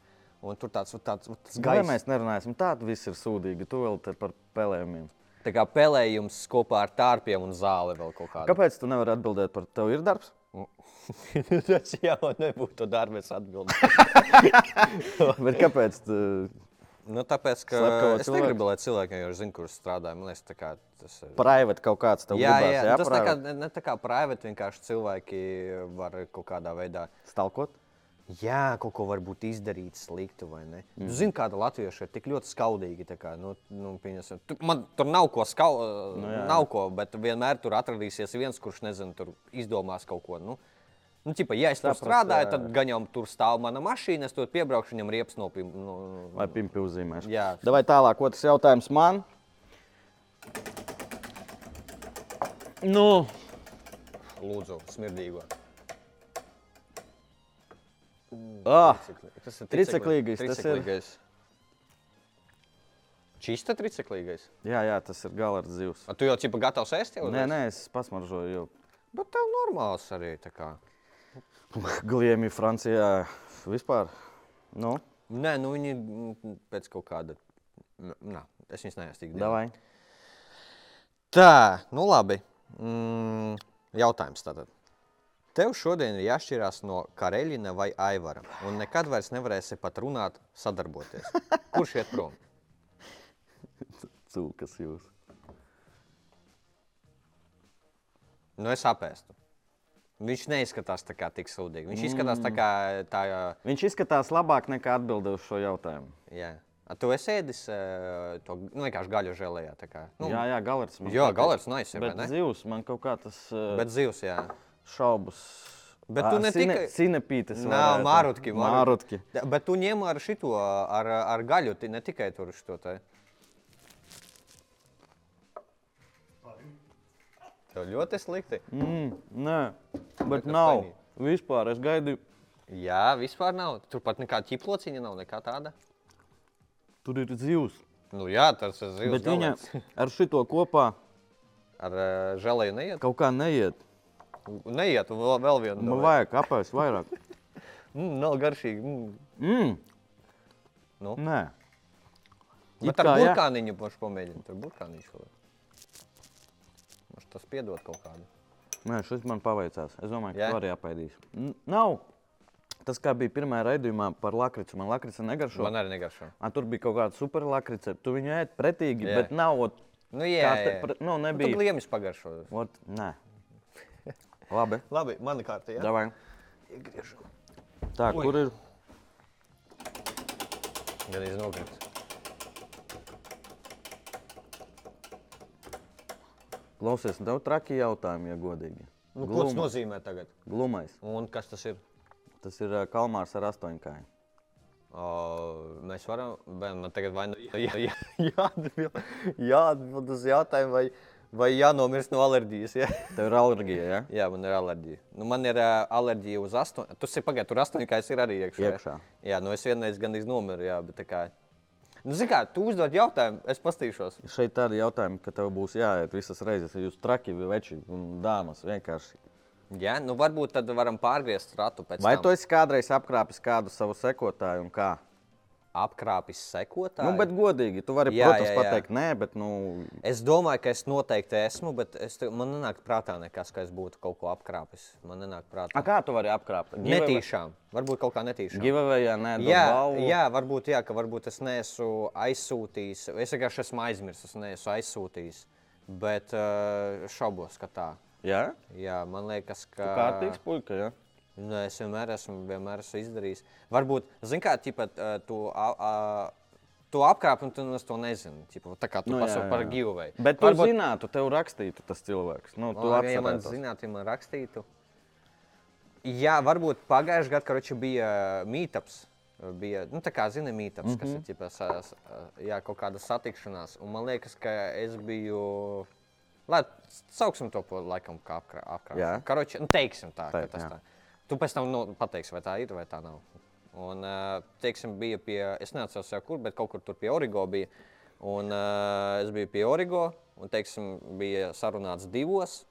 Speaker 1: Un tur tāds, tāds, tāds
Speaker 2: Gaisa.
Speaker 1: gaisa.
Speaker 2: Mēs nerunāsim, tāda viss ir sūdīga. Tu vēl te par spēlējumiem.
Speaker 1: Tā kā pelējums kopā ar tārpiem un zāli vēl kaut kādā.
Speaker 2: Kāpēc tu nevari atbildēt par tevi? Ir darbs?
Speaker 1: Tas jau nebūtu darbs, atbildēt.
Speaker 2: Bet kāpēc? Tu...
Speaker 1: Nu, tāpēc, ka
Speaker 2: Slepkavo
Speaker 1: es negribu,
Speaker 2: cilvēku.
Speaker 1: lai cilvēki jau zina, kurš strādā. Man liekas, tā kā tas ir.
Speaker 2: Private kaut kāds tev
Speaker 1: jā,
Speaker 2: gribās,
Speaker 1: jā,
Speaker 2: jā,
Speaker 1: tas tā kā,
Speaker 2: private?
Speaker 1: ne, ne tā kā privāti vienkārši cilvēki var kaut kādā veidā.
Speaker 2: Stalkot?
Speaker 1: Jā, kaut ko varbūt izdarīt sliktu, vai ne?
Speaker 2: Mhm.
Speaker 1: Mm. Zini, kāda latvieša ir tik ļoti skaudīga. tā Kā, nu, nu, pieņemsim, tu, man tur nav ko skaudīt, nu, nav ko, bet vienmēr tur atradīsies viens, kurš nezinu, tur izdomās kaut ko. Nu, nu, ķipa, ja es tur
Speaker 2: Sapratu,
Speaker 1: strādāju,
Speaker 2: jā,
Speaker 1: tad gaņām tur stāv mana mašīna, es tur piebraukšu, viņam riepas nopim. Nu, nu,
Speaker 2: Vai pimpi uzzīmēšu?
Speaker 1: jā,
Speaker 2: Davai tālāk, otrs jautājums man. Nu,
Speaker 1: lūdzu, smirdīgo.
Speaker 2: ah,
Speaker 1: Tas ir
Speaker 2: Triceklīgais, tas ir-
Speaker 1: Triceklīgais. Čista triceklīgais.
Speaker 2: jā, jā, tas ir gala ar zivs.
Speaker 1: A, tu jau čipa gatavs ēst jau?
Speaker 2: Nē, nē, es pasmaržoju jau.
Speaker 1: Bet tev normāls arī tā kā.
Speaker 2: Gliemi Francijā vispār. Nu,
Speaker 1: Nē, nu viņi mm, pēc kaut kāda. n- Nā, es viņus neesmu tik daudz.
Speaker 2: davai.
Speaker 1: Tā, nu labi. Mm, jautājums tātad. Tev šodien ir jāšķirās no Kareļina vai Aivara, un nekad vairs nevarēsi pat runāt, sadarboties. Kurš iet prom?
Speaker 2: Cūkas jūs.
Speaker 1: Nu, es apēstu. Viņš neizskatās tā kā tik sūdīgi. Viņš izskatās
Speaker 2: Mm.
Speaker 1: tā kā tā.
Speaker 2: Viņš izskatās labāk nekā atbildēju šo jautājumu.
Speaker 1: Jā. A, tu esi ēdis eh, to nu, vienkārši gaļu žēlējā.
Speaker 2: Nu, jā, jā, galers. man
Speaker 1: jā
Speaker 2: patīk.
Speaker 1: galvenais nais ir.
Speaker 2: Bet
Speaker 1: Bet,
Speaker 2: zivs man kaut kā tas uh,
Speaker 1: bet zivs, jā.
Speaker 2: šaubas.
Speaker 1: Bet
Speaker 2: Ah,
Speaker 1: tu ne tikai-
Speaker 2: Cinepītes.
Speaker 1: Nā, mārutki,
Speaker 2: Mārutki.
Speaker 1: Da- Bet tu ņem ar šito, ar, ar gaļu, ti- ne tikai tur šo te. Tev ļoti slikti.
Speaker 2: Mm, nē, bet
Speaker 1: tas
Speaker 2: nav.
Speaker 1: painīgi.
Speaker 2: Vispār es gaidīju.
Speaker 1: Jā, vispār nav. Turpat nekāda ķiplociņa nav, nekā tāda.
Speaker 2: Tur ir zivs.
Speaker 1: Nu jā, tas ir zivs.
Speaker 2: Bet viņa
Speaker 1: galvenais.
Speaker 2: ar šito kopā
Speaker 1: Ar eh, žēlēju neiet.
Speaker 2: kaut kā neiet.
Speaker 1: Neiet, vēl, vēl vienu.
Speaker 2: Man
Speaker 1: davai.
Speaker 2: vajag apēst vairāk.
Speaker 1: Mm, nav garšīgi. Mm.
Speaker 2: Mm.
Speaker 1: Nu?
Speaker 2: Nē. It
Speaker 1: Bet ar
Speaker 2: kā, jā.
Speaker 1: burkāniņu pašu pamēģini. Tur burkāniņš vēl. Mums tas piedod kaut kādu.
Speaker 2: Nē, šis man paveicās. Es domāju, ka
Speaker 1: Jā?
Speaker 2: tu arī apaidīsi. N- Nav. Tas kā bija pirmajā raidījumā par lakricu. Man lakrica negaršo.
Speaker 1: Man arī negaršo.
Speaker 2: A, tur bija kaut kāda superlakrica. Tu viņu ēd pretīgi,
Speaker 1: Jā.
Speaker 2: bet nav. ot-
Speaker 1: Nu, jā,
Speaker 2: kā
Speaker 1: jā.
Speaker 2: te- pre- Nu,
Speaker 1: Nebija. Tu
Speaker 2: nebija.
Speaker 1: gliemis pagaršo.
Speaker 2: Ot, nē. Labi.
Speaker 1: Labi, mana kārta. Jā,
Speaker 2: Davai. Tā,
Speaker 1: Ui.
Speaker 2: kur ir?
Speaker 1: gan es nogrieztu.
Speaker 2: Klausies, tev traki jautājumi, ja godīgi.
Speaker 1: Nu, ko tas
Speaker 2: Gluma-
Speaker 1: nozīmē tagad?
Speaker 2: Glumais.
Speaker 1: Un kas tas ir?
Speaker 2: Tas ir ā, kalmārs ar astoņkāju.
Speaker 1: O, mēs varam, vai man tagad vai nu jā, jā, jāatbild, jāatbild uz jautājumu, vai, vai jānomirst no alerģijas. Jā,
Speaker 2: Tev ir alerģija, ja?
Speaker 1: jā man ir alerģija. Nu, man ir ā, alerģija uz astoņiem. Tu esi pagaidi, tur astoņi, kā es ir arī iekšā. jā?
Speaker 2: Iekšā.
Speaker 1: Jā, nu es vienreiz gandrīz nomiru, jā, bet tā kā. Nu, zini kā, tu uzdod jautājumu, es pastīšos.
Speaker 2: Šeit tādi jautājumi, ka tev būs jāiet visas reizes, ja jūs traki, veči un dāmas vienkārši.
Speaker 1: Jā, nu varbūt tad varam pārgriezt ratu pēc
Speaker 2: Vai
Speaker 1: tam.
Speaker 2: tu esi kādreiz apkrāpis kādu savu sekotāju un kā?
Speaker 1: apkrāpis sekotāju?
Speaker 2: Nu, bet godīgi, tu vari, jā,
Speaker 1: Jā,
Speaker 2: protams,
Speaker 1: jā,
Speaker 2: jā, jā.
Speaker 1: jā.
Speaker 2: pateikt, nē, bet, nu,
Speaker 1: Es domāju, ka es noteikti esmu, bet es, te- man nenāk prātā nekas, ka es būtu kaut ko apkrāpis. Man nenāk
Speaker 2: a,
Speaker 1: prātā.
Speaker 2: kā tu vari apkrāpt?
Speaker 1: Netīšām, varbūt kaut kā netīšām.
Speaker 2: Givavējā, nē,
Speaker 1: Jā, jā, varbūt, jā, ka varbūt es neesmu aizsūtījis. Es vienkārši esmu aizmirsis, es neesmu aizsūtījis. Bet eh, šaubos, ka tā.
Speaker 2: jā.
Speaker 1: Jā, man liekas, ka.
Speaker 2: Kārtīgs puika, jā.
Speaker 1: Nē, Nu, es vienmēr esmu, vienmēr esmu izdarījis. Varbūt, zināmā mērā, tipa, eh, tu, a, a, tu apkrāp, un tu nemaz to nezini. Tipa, tā kā tu nu,
Speaker 2: Nu, jā,
Speaker 1: pasaki par
Speaker 2: jā.
Speaker 1: giveaway.
Speaker 2: Bet tu Varbūt... zinātu, tev rakstītu tas cilvēks. Nu, tu
Speaker 1: Labi, ja man
Speaker 2: atcerētos.
Speaker 1: zinātu, ja man rakstītu. Jā, varbūt pagājušajā gadā karoči, bija mītāps. Bija nu, tā kā zina mītāps, mm -hmm. kas
Speaker 2: Mhm.
Speaker 1: ir ķipa, sa, sa, jā, kaut kāda satikšanās. Un man liekas, ka es biju. Lai sauksim to par laikam, kā apgāzta.
Speaker 2: Jā.
Speaker 1: Karoči, nu, teiksim tā,
Speaker 2: Teik,
Speaker 1: Teik, ka tas
Speaker 2: jā.
Speaker 1: tā. Tu pēc tam nu, pateiksi, vai tā ir vai tā nav. Un, ā, teiksim, bija pie, es neatceros jau kur, bet kaut kur tur pie Origo bija. Un uh, es biju pie Origo, un, teiksim, bija sarunāts divos,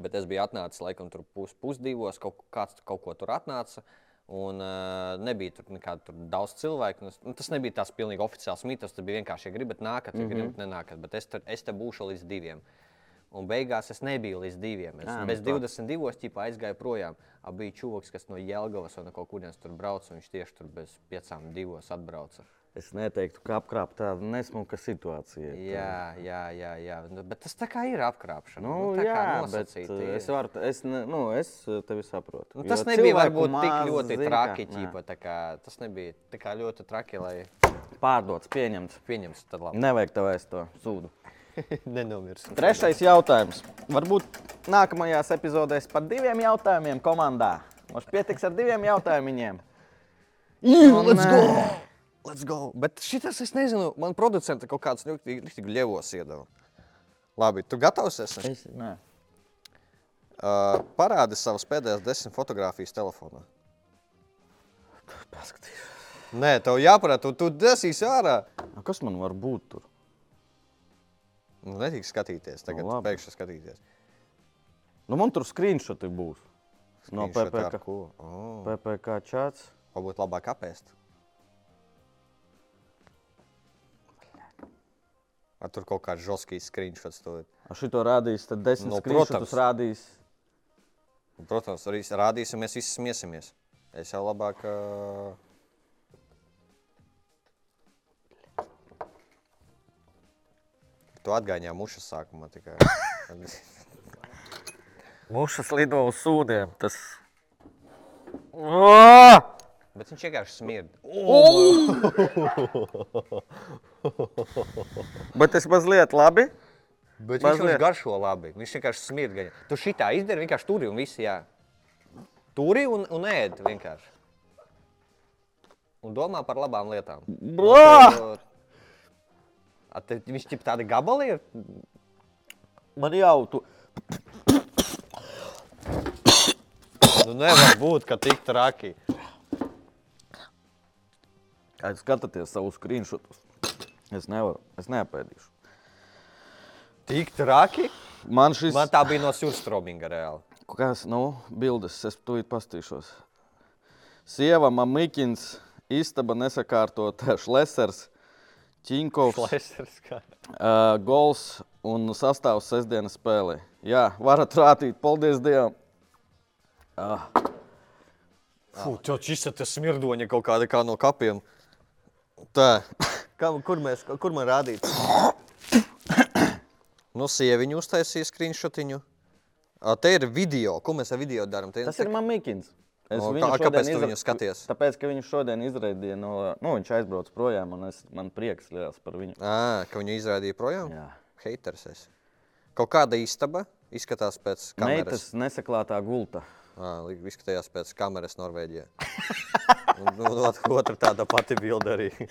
Speaker 1: Bet es biju atnācis laikam tur pus, pusdivos, kaut, kāds kaut ko tur atnāca. Un uh, nebija tur nekāda tur daudz cilvēku. un Es, nu, tas nebija tās pilnīgi oficiāls mītnes. Tas bija vienkārši, ja gribat, nākat, ja gribat, nenākat. Bet es, tur, es te būšu līdz diviem. un beigās es nebiju līdz diviem. Es
Speaker 2: Ā, nu
Speaker 1: bez
Speaker 2: tā.
Speaker 1: 22. tipā aizgāju projām. A Bija čūlis, kas no Jēlgavas vai no kaut kurienes tur brauca, un viņš tieši tur bez piecām divos atbrauca.
Speaker 2: Es neteiktu, ka apkrāpt tādu nesmuka situāciju.
Speaker 1: Jā, jā, jā, jā. Nu, bet tas tā kā ir apkrāpšana.
Speaker 2: Nu,
Speaker 1: Nu, tā
Speaker 2: jā,
Speaker 1: kā
Speaker 2: bet
Speaker 1: nosacīta
Speaker 2: uh,
Speaker 1: ir.
Speaker 2: es, varu, t- es, ne, nu, es uh, tevi saprotu.
Speaker 1: Nu,
Speaker 2: Jo
Speaker 1: tas nebija
Speaker 2: cilvēku
Speaker 1: varbūt
Speaker 2: maz
Speaker 1: tik ļoti
Speaker 2: zin,
Speaker 1: traki.
Speaker 2: kā- nē.
Speaker 1: Ķīpa, tā kā, tas nebija tā kā ļoti traki, lai
Speaker 2: Pārdots, pieņemts.
Speaker 1: pieņemts tad labi.
Speaker 2: Nevajag tev aiz to sūdu.
Speaker 1: Nenomirst.
Speaker 2: Trešais jautājums. Varbūt nākamajās epizodēs par diviem jautājumiem komandā. Mums pietiks ar diviem jautājumiem.
Speaker 4: Jū,
Speaker 2: let's
Speaker 4: let's go!
Speaker 2: go!
Speaker 1: Let's go! Bet šitas es nezinu, man producents kaut kāds nu, ļoti ļevos iedeva. Labi, tu gatavs esi?
Speaker 2: Es, nē.
Speaker 1: Uh, parādi savas pēdējās desmit fotogrāfijas telefonā.
Speaker 2: Paskatīšos.
Speaker 1: Nē, tev jāparāda, tu, tu desīs ārā.
Speaker 2: Nu, Kas man var būt tur?
Speaker 1: Nu, netīk skatīties, tagad
Speaker 2: labi.
Speaker 1: pēkšņi skatīties.
Speaker 2: Nu, man tur skrīnšoti būs. No
Speaker 1: Screenshot ar
Speaker 2: PPK.
Speaker 1: ko? Oh.
Speaker 2: PPC čats.
Speaker 1: Varbūt labāk apēst. Ar tur kaut kāds žoskīs screenshots. to ir.
Speaker 2: Ar šito rādīs, tad desmit
Speaker 1: Nu,
Speaker 2: no, skrīnšotus
Speaker 1: protams.
Speaker 2: rādīs.
Speaker 1: Un, Protams, arī s- rādīsim, mēs visi smiesimies. Es jau labāk. Uh... Tu atgādināji mušas sākumā tikai.
Speaker 2: Mušas lido uz sūdiem. Tas...
Speaker 1: Bet viņš vienkārši smird.
Speaker 2: Bet es mazliet labi.
Speaker 1: Bet viņš
Speaker 2: Mazliet.
Speaker 1: jau garšo labi. Viņš vienkārši smird. gaļa. Tu šitā izdari, vienkārši turi un visi jā. Turi un, un ēd vienkārši. Un domā par labām lietām. uh,
Speaker 2: Blā!
Speaker 1: A, te, viņš ir tāds gabals, ir
Speaker 2: Man jau tu.
Speaker 1: Nu, nevar būt, ka tik traki.
Speaker 2: Kad skatāties savus skrīnšotus, es nevaru. Es neapēdīšu.
Speaker 1: Tik traki.
Speaker 2: Man šis.
Speaker 1: Man tā bija no surstrobinga reāli.
Speaker 2: Kas, nu, bildes, es tūlīt pastīšos. Sieva, mamikins, istaba nesakārtota, šlesers, ķinkovs.
Speaker 1: Plēsers kā.
Speaker 2: Uh, gols un sastāvs sestdienas spēlē. Jā, varat rādīt, paldies Dievam. Ah,
Speaker 1: Fū, tev šis te smirdoņa kaut kāda kā no kapiem. Tā. Kam, kur, mēs, kur man rādīt? Nu, sieviņu uztaisīja screenshotiņu. A, te ir video. Ko mēs ar video darām? Te-
Speaker 2: Tas ir Mamikins. Es
Speaker 1: O,
Speaker 2: viņu
Speaker 1: kā-
Speaker 2: šodien
Speaker 1: kāpēc tu
Speaker 2: izra-
Speaker 1: viņu skaties?
Speaker 2: Tāpēc, ka viņš šodien izraidīja no, nu, viņš aizbrauca projām, un es, man prieks liels par viņu.
Speaker 1: Ā, ka viņu izrādīja projām?
Speaker 2: Jā.
Speaker 1: Heiters esi. Kaut kāda istaba izskatās pēc kameras.
Speaker 2: Meitas nesaklātā gulta.
Speaker 1: Ā, li- Izskatījās pēc kameras Norvēģijā. Un, un ot- otra tāda pati bilde arī.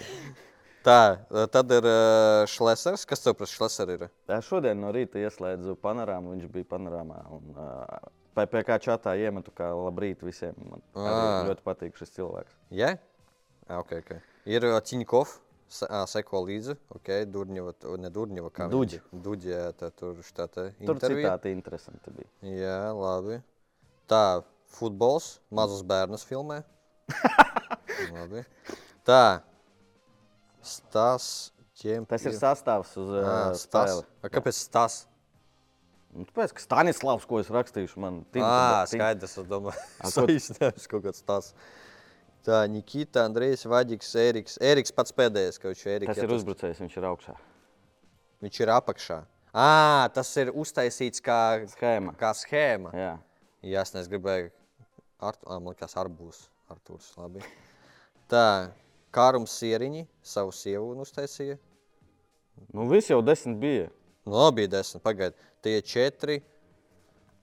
Speaker 1: Tā, tad ir ā, šlesers. Kas tev par šleseru ir?
Speaker 2: Tā šodien no rīta ieslēdzu panorāmu, viņš bija panorāmā. Un, uh, PPC čatā iemetu, kā labrīt visiem. Man
Speaker 1: Ā.
Speaker 2: arī ļoti patīk šis cilvēks.
Speaker 1: Jā? Yeah? Ok, ok. Ir Čiņkov, seko līdzi. Ok, Durņeva, t- ne Durņeva, kā
Speaker 2: Duģi.
Speaker 1: Duģi, jā, tā tur štāta
Speaker 2: Tur
Speaker 1: intervija.
Speaker 2: citāti interesanti bija.
Speaker 1: Jā, labi. Tā, futbols, mazus bērnus filmē. labi. Tā, stāsts.
Speaker 2: Tas ir sastāvs uz uh,
Speaker 1: Stāsts.
Speaker 2: spēli.
Speaker 1: Kāpēc tas?
Speaker 2: Nu, tāpēc, ka Stanislavs, ko es rakstīšu, man
Speaker 1: Jā,
Speaker 2: tinta- tinta-
Speaker 1: skaidrs, es domāju, saīsinājums kaut kāds tas. Tā, Nikita, Andrejs, Vaģiks, Eriks. Eriks pats pēdējais, ka viņš ir Eriks.
Speaker 2: Tas ir uzbrucējs, viņš ir augšā.
Speaker 1: Viņš ir apakšā. Ā, tas ir uztaisīts kā
Speaker 2: Schēma.
Speaker 1: Kā schēma.
Speaker 2: Jā.
Speaker 1: Jā, es nezinu, gribēju. Ar, ā, man liekas, arbūs. Artūrs, labi. Tā, Kārums Sieriņi savu sievu un uztaisīja.
Speaker 2: Nu, viss jau desmit bija.
Speaker 1: Nu, labi, bija desmit. Pagaidiet, tie ir četri,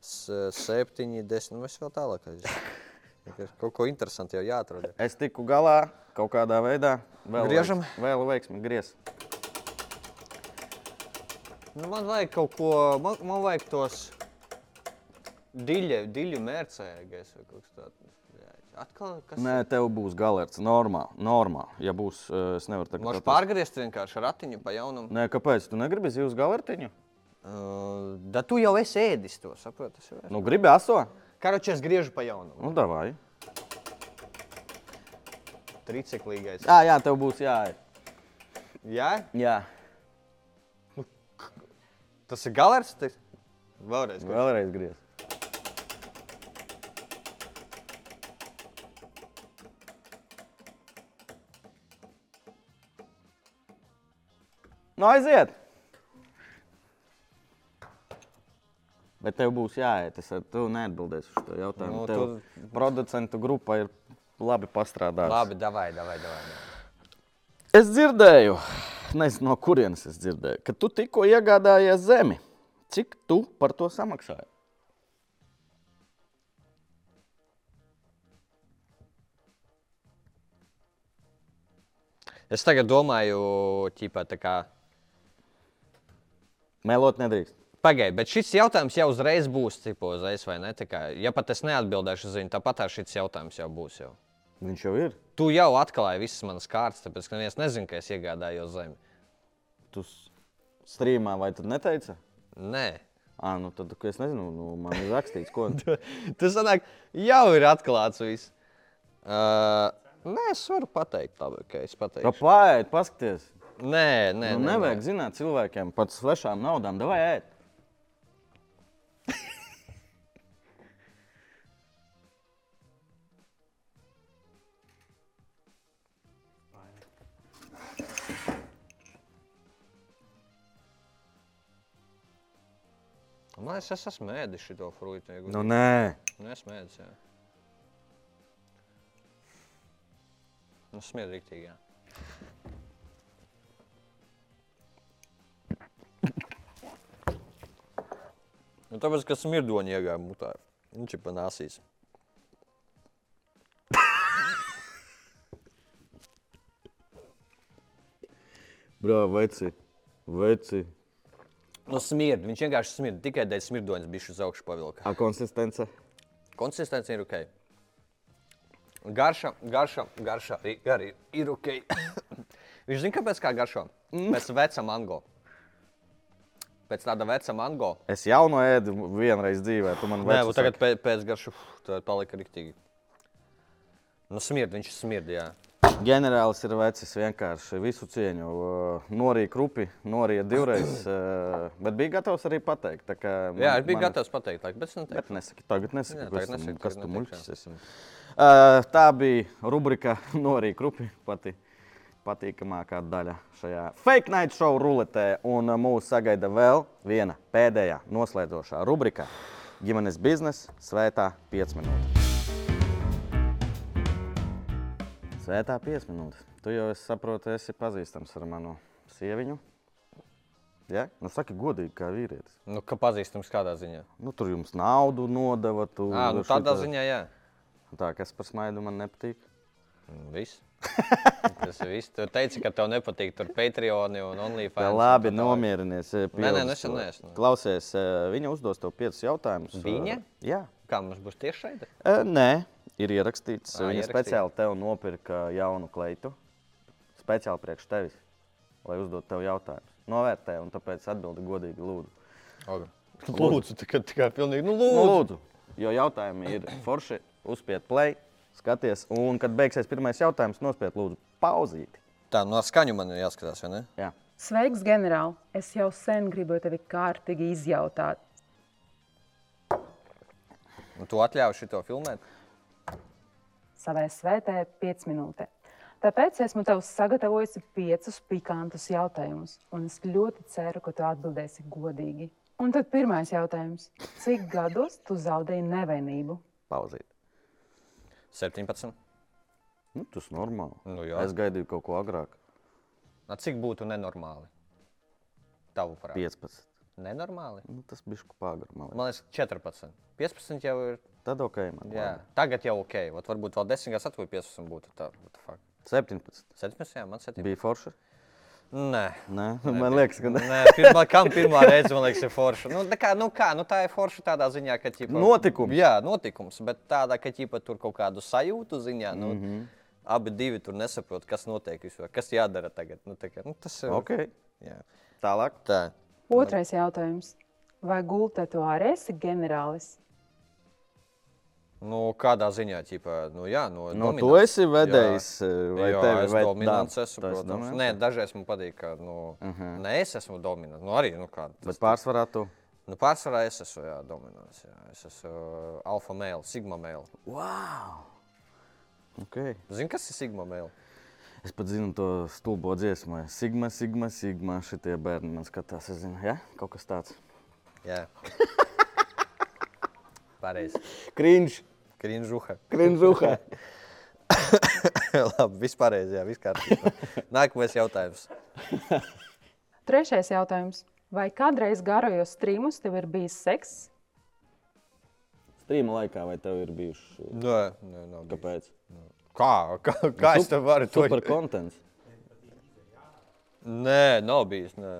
Speaker 1: s- septiņi, desmit. Nu, es vēl tālāk. aiziešu. Kaut ko interesantu jau jāatrod.
Speaker 2: Es tiku galā kaut kādā veidā. Vēl
Speaker 1: Griežam?
Speaker 2: veiks- Vēl veiksmi griez.
Speaker 1: Nu, man vajag kaut ko, man, man vajag tos diļu, diļu mērcējumus vai kaut kas tāds. Jā, Atkal kas tāds
Speaker 2: Nē, tev būs galerts. Normāli. Normāli. Ja būs, eh, es nevaru
Speaker 1: -
Speaker 2: tagad.
Speaker 1: man
Speaker 2: atrast.
Speaker 1: pārgriezt vienkārši ratiņu pa jaunam.
Speaker 2: Nē, kāpēc? Tu negribi zīves galertiņu?
Speaker 1: Uh, da tu jau esi ēdis to, saproti? Tas ir vairs.
Speaker 2: Nu, gribi aso?
Speaker 1: Karoči, es griežu pa jaunam.
Speaker 2: Nu, davai.
Speaker 1: Triciklīgais.
Speaker 2: Mm. Jā, jā, tev būs jā.
Speaker 1: Jā,
Speaker 2: Jā.
Speaker 1: tas ir galers. Tas... Vēlreiz. Vēl...
Speaker 2: Vēlreiz griez. Nu, aiziet! Bet tev būs jāiet. Es ar tevi neatbildēšu uz šo jautājumu.
Speaker 1: Nu,
Speaker 2: No, tev tu... producentu grupa ir labi pastrādājusi.
Speaker 1: Labi, davai, davai, davai. davai.
Speaker 2: Es dzirdēju, nezinu, no kurienes es dzirdēju, ka tu tikko iegādājies zemi. Cik tu par to samaksāji?
Speaker 1: Es tagad domāju, ķipā, tā kā.
Speaker 2: Melot nedrīkst.
Speaker 1: Pagaidiet, bet šis jautājums jau uzreiz būs tipo, uzreiz, vai ne? Tā Kā, ja pat es neatbildēšu, zinu, tāpat ar šis jautājums jau būs. Jau.
Speaker 2: Viņš jau ir.
Speaker 1: Tu jau atklāji visas manas kārtas, tāpēc ka neviens nezina, ka es iegādājos zemi.
Speaker 2: Tu s- strīmā vai tad neteici?
Speaker 1: Nē,
Speaker 2: Ah, nu tad es nezinu, nu, man ir rakstīts, ko.
Speaker 1: tas sanāk, jau ir atklāts viss. Uh, nē, es varu pateikt, labi, ka es pateikšu.
Speaker 2: Kāpēc? Nu, Paskaties.
Speaker 1: Nē, nē,
Speaker 2: Nu,
Speaker 1: nē, nē.
Speaker 2: nevajag zināt cilvēkiem par svešām naudām. Davai, ēd.
Speaker 1: Man liekas, Nu, es esmu mēdījis šo fruitu. Nu.
Speaker 2: Nu, nē.
Speaker 1: Nē, es mēdījis. Jā. Nu, smiedz rīktīgi. jā. Nu, tāpēc, ka smirdoņi iegāja mutā. Viņš ir panāsīs.
Speaker 2: Brā, veci. Veci.
Speaker 1: Nu, smird. Viņš vienkārši smird. Tikai dēļ smirdoņas bija uz augšu pavilka.
Speaker 2: A konsistence?
Speaker 1: Konsistence ir ok. Garša, garša, garša arī, arī ir ok. Viņš zina, kāpēc kā garšo.
Speaker 2: Mm.
Speaker 1: Pēc veca mango. Pēc tāda veca mango.
Speaker 2: Es jau no ēdu vienreiz dzīvē. Tu man
Speaker 1: Nē,
Speaker 2: vecu
Speaker 1: nu
Speaker 2: saki.
Speaker 1: tagad pēc, pēc garša uf, tā palika riktīgi. Nu, smird, viņš smird, jā.
Speaker 2: Ģenerālis ir vecis vienkārši visu cieņu. uh, Norija krupi, norija divreiz. uh, Bet bija gatavs arī pateikt. tā kā
Speaker 1: Jā,
Speaker 2: man-
Speaker 1: es biju
Speaker 2: man-
Speaker 1: gatavs pateikt, laik, bet es
Speaker 2: Bet
Speaker 1: neteiktu.
Speaker 2: nesaki, tagad nesaki,
Speaker 1: Jā,
Speaker 2: kas,
Speaker 1: tagad
Speaker 2: tu-
Speaker 1: nesaki,
Speaker 2: kas
Speaker 1: tagad
Speaker 2: tu
Speaker 1: neteikšu,
Speaker 2: muļķis esi. Uh, Tā bija rubrika Norija krupi. Pati. Patīkamākā daļa šajā fake night show ruletē. Un uh, mūs sagaida vēl viena pēdējā noslēdzošā rubrika - ģimenes biznesa svētā 5 minūtes. Svētā 5 minūtes. Tu jau es saprotu, esi pazīstams ar manu sieviņu. Ja? Nu, saki, godīgi, kā vīrietis.
Speaker 1: Nu, ka pazīstams kādā ziņā.
Speaker 2: Nu, tur jums naudu nodeva. Tu,
Speaker 1: Ā, nu tādā ziņā, jā.
Speaker 2: Tā, kas par smaidu man nepatīk.
Speaker 1: Nu, Viss. Tas ir viss. Tu teici, ka tev nepatīk tur Patreon un
Speaker 2: Tā,
Speaker 1: OnlyFans.
Speaker 2: labi,
Speaker 1: un tā tālāk.
Speaker 2: nomierinies.
Speaker 1: nu nē,
Speaker 2: pieaudz
Speaker 1: nu es jau
Speaker 2: to.
Speaker 1: neesmu.
Speaker 2: Klausies, eh, viņa uzdos tev piecus jautājumus.
Speaker 1: Viņa?
Speaker 2: Eh, Jā,
Speaker 1: Kā mums būs tieši šeit?
Speaker 2: Eh, nē, ir ierakstīts. eh,
Speaker 1: Ā,
Speaker 2: Viņa
Speaker 1: ierakstīts.
Speaker 2: speciāli tev nopirka jaunu kleitu. Speciāli priekš tevis, lai uzdot tev jautājumus. Novērtē, un tāpēc atbildi godīgi lūdzu.
Speaker 1: Lūdzu, tā kā, tā kā pilnīgi. Nu,
Speaker 2: Nu, lūdzu, jo jautājumi ir forši. Uzspied play, skaties, un kad beigsies pirmais jautājums, nospied lūdzu pauzīti.
Speaker 1: Tā, no skaņu man ir jāskatās, vai ne?
Speaker 2: Jā.
Speaker 5: Sveiks, ģenerāl! Es jau sen gribēju tevi kārtīgi izjautāt.
Speaker 1: Un tu atļauj šo filmēt?
Speaker 5: savai svētajai piecminūtē. Tāpēc esmu tev sagatavojusi piecus pikantus jautājumus, un es ļoti ceru, ka tu atbildēsi godīgi. Un tad pirmais jautājums. Cik gados tu zaudēji nevainību?
Speaker 2: Pauzīt.
Speaker 1: 17.
Speaker 2: Nu, tas ir normāli.
Speaker 1: Nu jā.
Speaker 2: es gaidīju kaut ko agrāk,
Speaker 1: Na, cik būtu nenormāli? Tavuprāt,
Speaker 2: 15.
Speaker 1: nenormāli.
Speaker 2: Nu, tas bija kaut kā pāri.
Speaker 1: Man liekas, 14. 15 jau ir.
Speaker 2: Tad ok, man
Speaker 1: Jā. Tagad jau ok. Vat varbūt vēl 10 gadus atpakaļ 15 būtu. Tā, what the fuck?
Speaker 2: 17.
Speaker 1: 17. Jā, man 17.
Speaker 2: Bija forši.
Speaker 1: Nē.
Speaker 2: Nē, man liekas, ka ne.
Speaker 1: Nē, pirmā, kam pirmā reize, man liekas, ir forša. Nu, tā, kā, nu kā, nu tā ir forša tādā ziņā, ka. Ķipa,
Speaker 2: Notikums.
Speaker 1: Jā, notikums. Bet tādā, ka ķipa, tur kaut kādu sajūtu ziņā. Nu,
Speaker 2: Mhm.
Speaker 1: mm -hmm. Abi divi tur nesaprot, kas notiek vispār, kas jādara tagad. Nu, tā kā, nu, tas ir.
Speaker 2: Okay.
Speaker 1: Jā.
Speaker 2: Tālāk.
Speaker 1: Tā.
Speaker 5: Otrais jautājums. Vai gultā tu arī esi ģenerālis?
Speaker 1: Nu, kādā ziņā, ķipa, nu, jā, no,
Speaker 2: Nu, tu
Speaker 1: dominants.
Speaker 2: esi vedējis, eh,
Speaker 1: Jā.
Speaker 2: vai
Speaker 1: jā,
Speaker 2: tevi
Speaker 1: es
Speaker 2: ved
Speaker 1: dominants
Speaker 2: dāmas?
Speaker 1: esmu,
Speaker 2: Tu esi
Speaker 1: protams.
Speaker 2: dominants? Mhm.
Speaker 1: Nē, dažreiz man patīk, ka, nu, uh -huh. nē, es esmu dominants. Nu, arī, nu, kā.
Speaker 2: Bet pārsvarā tu
Speaker 1: Nu, pārsvarā es esmu jā, dominants. Jā. Es esmu uh, alfa mēlis, sigma mēlis.
Speaker 2: Wow! Okay.
Speaker 1: Zini, kas ir sigma mēlis?
Speaker 2: Es pat zinu to stulbo dziesmu. Sigma, Sigma, Sigma. Šitie bērni man skatās. Es zinu, ja? kaut kas tāds.
Speaker 1: Jā, pareizi.
Speaker 4: Krīņš,
Speaker 1: Krīnžuha.
Speaker 4: krīņš,
Speaker 1: Labi, vispār jā, viss kārtībā. Nākamais jautājums.
Speaker 5: Trešais jautājums. Vai kādreiz garojos strīmus tev ir bijis seks?
Speaker 2: Strīma laikā vai tev ir bijuši?
Speaker 1: Nē, nē, nav bijis.
Speaker 2: Kāpēc?
Speaker 1: nu, kā, kā, kā es tev varu to
Speaker 2: Super kontents.
Speaker 1: Nē, nav bijis. Nē.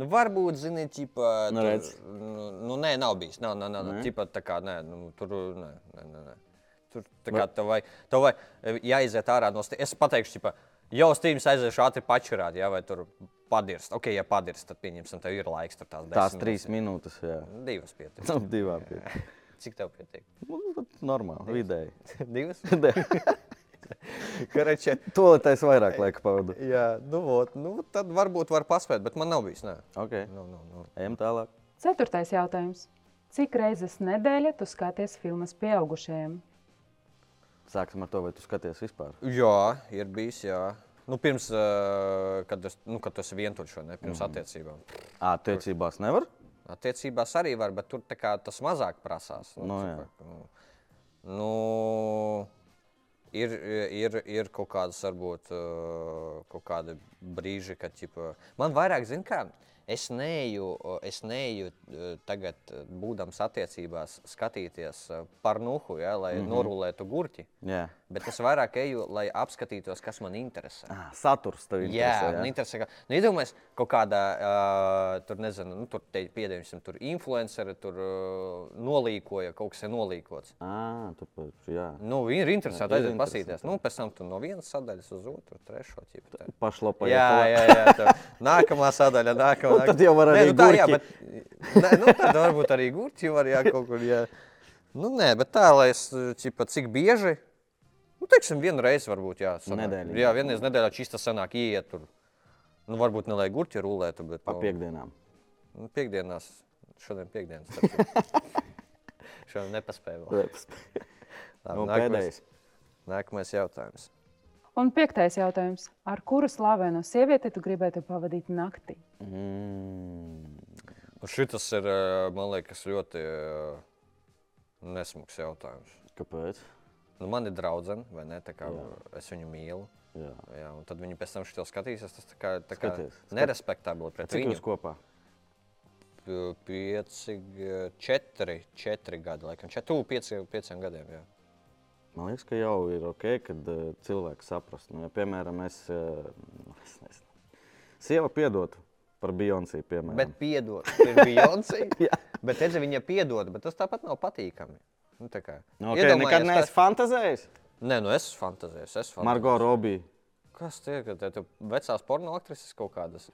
Speaker 1: Nu, varbūt, zini, tipā,
Speaker 2: Nu,
Speaker 1: tur-
Speaker 2: redz.
Speaker 1: nu, nu, nē, nav bijis. Nav, nav, nav, nav. Tipā, tā kā, nē, nu, tur, nē, nē, nē, nē. Tur, tā kā, tev vajag, tev vajag e, jāiziet ārā no stūra. Es pateikšu, tipā, jau stīvis aiziešu ātri pačurāt, jā, vai tur padirst. Ok, ja padirst, tad pieņemsim, tev ir laiks tur tās
Speaker 2: Tās
Speaker 1: desmit
Speaker 2: trīs minūtes, jā.
Speaker 1: minūtes. Divas pietiek.
Speaker 2: Nu, Divām pietiek.
Speaker 1: Cik tev pietiek?
Speaker 2: Nu, Normāli, vidēji.
Speaker 1: Divas?
Speaker 2: Nē,
Speaker 1: Karačē.
Speaker 2: Tolētā es vairāk laika pavadu.
Speaker 1: Jā, nu, vot, nu, tad varbūt var paspēt, bet man nav bijis. Nē,
Speaker 2: Okay.
Speaker 1: nu, nu, nu.
Speaker 2: Ejam tālāk.
Speaker 5: Ceturtais jautājums. Cik reizes nedēļā tu skaties filmas pieaugušajiem?
Speaker 2: Sāksim ar to, vai tu skaties vispār.
Speaker 1: Jā, ir bijis. Jā. Nu, pirms, eh, kad, es, nu, kad tu esi vientuļš, vai ne? Pirms mm. attiecībām.
Speaker 2: Attiecībās nevar.
Speaker 1: Attiecībās arī var, bet tur tā kā, tas mazāk prasās.
Speaker 2: Nu, jā.
Speaker 1: tā kā, nu, nu, ir, ir, ir kaut kādas, varbūt, eh, kaut kādi brīži, kad ķipa, man vairāk, zin kā, es neju, es neju eh, tagad, eh, būdams attiecībās, skatīties eh, pornuhu, ja, lai mm -hmm. norulētu gurķi.
Speaker 2: Jā,
Speaker 1: Bet es vairāk eju, lai apskatītos, kas man interesē.
Speaker 2: ah, saturs tev ir.
Speaker 1: Jā, man interesē, ka, nu, iedomājieties, kaut kādā, uh, tur, nezinu, nu, tur, te, piedēļsim, tur influenceri tur uh, nolīkoja, kaut kas ir nolīkots.
Speaker 2: Ah, tāpēc, jā.
Speaker 1: Nu, viņi ir interesanti,
Speaker 2: ir
Speaker 1: aiziet
Speaker 2: interesanti.
Speaker 1: pasīties. Nu, pēc tam tu no vienas sadaļas uz otru, trešo tipu. tā.
Speaker 2: Pašlapa.
Speaker 1: Jā, jā, jā. tā. Nākamā sadaļa, nākamā.
Speaker 2: Nu, tad jau var
Speaker 1: nē,
Speaker 2: arī
Speaker 1: nu, tā, jā,
Speaker 2: gurķi.
Speaker 1: bet, nē, nu, tad varbūt arī gurķi var jā, kaut kur. Jā. Nu, nē, bet tā, lai es, ķipa, cik bieži, nu, teiksim, vienu reizi varbūt, jā. sanāk.
Speaker 2: Nedēļā.
Speaker 1: Jā, vienreiz nedēļā čista sanāk ieiet tur. Nu, varbūt ne lai gurķi rulētu, bet.
Speaker 2: Pa
Speaker 1: nu,
Speaker 2: piekdienām.
Speaker 1: Nu, piekdienās, šodien piekdienas. starp citu. šodien nepaspēju vēl. Labi,
Speaker 2: Nu,
Speaker 1: nākamais,
Speaker 2: pēdējais.
Speaker 1: nākamais jautājums.
Speaker 5: Un piektais jautājums. Ar kuru slavenu sievieti tu gribētu pavadīt nakti?
Speaker 2: Mm.
Speaker 1: Nu, Šis ir, eh, man liekas, ļoti eh, nesmags jautājums.
Speaker 2: Kāpēc?
Speaker 1: Nu, man ir draudzene, vai ne? tā Kā,
Speaker 2: Jā.
Speaker 1: es viņu mīlu.
Speaker 2: Jā.
Speaker 1: Jā, un tad viņi pēc tam šo skatīsies. Tas tā kā, tā kā
Speaker 2: Skaties, skat-
Speaker 1: nerespektabli pret
Speaker 2: Cik
Speaker 1: viņu.
Speaker 2: jūs kopā?
Speaker 1: P- Pieci, g- četri, četri gadi, laikam. Čet, tuvu pieci, pieciem gadiem. Jā.
Speaker 2: Man liekas, ka jau ir ok, kad uh, cilvēks saprast. Nu, ja, piemēram, es, uh, nu, es nezinu. Sieva piedot par Beyoncé, piemēram.
Speaker 1: Bet piedod, ir Beyoncé. bet redzi, viņa piedod, bet tas tāpat nav patīkami. Nu, tā kā.
Speaker 2: nu, okay, nekad neesmu fantāzējis.
Speaker 1: Nē, nu es fantāzēju, es fantāzēju.
Speaker 2: Margo Robija,
Speaker 1: Kas tie ir? Tie tu vecās porno aktrises kaut kādas.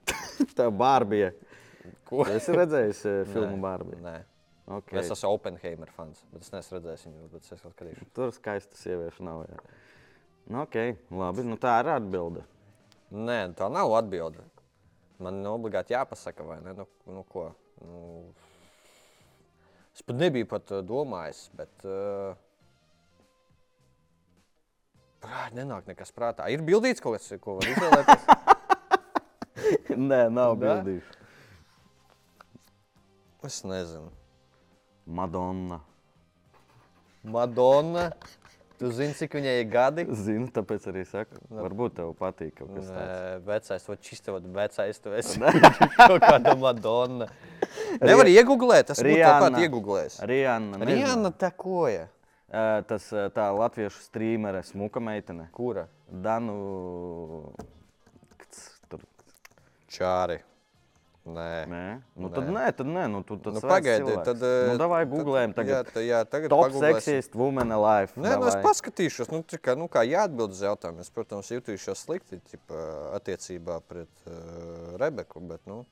Speaker 2: tā Bārbija.
Speaker 1: Ko?
Speaker 2: Es redzēju uh, filmu Bārbija.
Speaker 1: Nē.
Speaker 2: Okay.
Speaker 1: Okay. Es esmu Oppenheimer fans, bet es neesmu redzējis viņu, bet es esmu skatījušies.
Speaker 2: Tur skaista sieviete nav. Jā. Nu, okay, labi, nu tā ir atbilde.
Speaker 1: Nē, tā nav atbilde. Man nav obligāti jāpasaka, vai ne? Nu, nu ko? Nu, es pat nebiju pat eh, domājis, bet. Uh, Prāt, nenāk nekas prātā. Ir bildīts kaut kas, ko var izvēlēties.
Speaker 2: Nē, nav
Speaker 1: Da?
Speaker 2: bildīšu.
Speaker 1: es nezinu.
Speaker 2: Madonna.
Speaker 1: Madonna. Tu zini, cik viņai ir gadi?
Speaker 2: Zinu, tāpēc arī saku. Varbūt tev patīk kaut kas tāds.
Speaker 1: Nē, Vecais, vai čista, vai vecais, tu esi kaut kāda Madonna. Nevar iegūglēt, tas būtu tāpat
Speaker 2: Rihanna.
Speaker 1: iegūglēs.
Speaker 2: Rihanna. nezinu.
Speaker 1: Rihanna tekoja.
Speaker 2: Ē, Tas ē, tā latviešu strīmere, smuka meitene.
Speaker 1: Kura?
Speaker 2: Danu. Kts, Tur.
Speaker 1: Čāri. Nē.
Speaker 2: Nē, nu
Speaker 1: Eh. Nē.
Speaker 2: tad nē, tad nē, nu tu tas
Speaker 1: Nu, pagaidi, tad. eh,
Speaker 2: Nu, davai
Speaker 1: tad-
Speaker 2: googlējam
Speaker 1: Jā,
Speaker 2: tagad.
Speaker 1: tā- jā, tagad
Speaker 2: Top
Speaker 1: paguglēsim.
Speaker 2: sexiest woman alive.
Speaker 1: Nē, nu es
Speaker 2: davai.
Speaker 1: paskatīšos, nu, tā kā, nu, kā jāatbild uz jautājumu. Es, protams, jutīšos slikti tipa, attiecībā pret uh, Rebeku, bet, nu,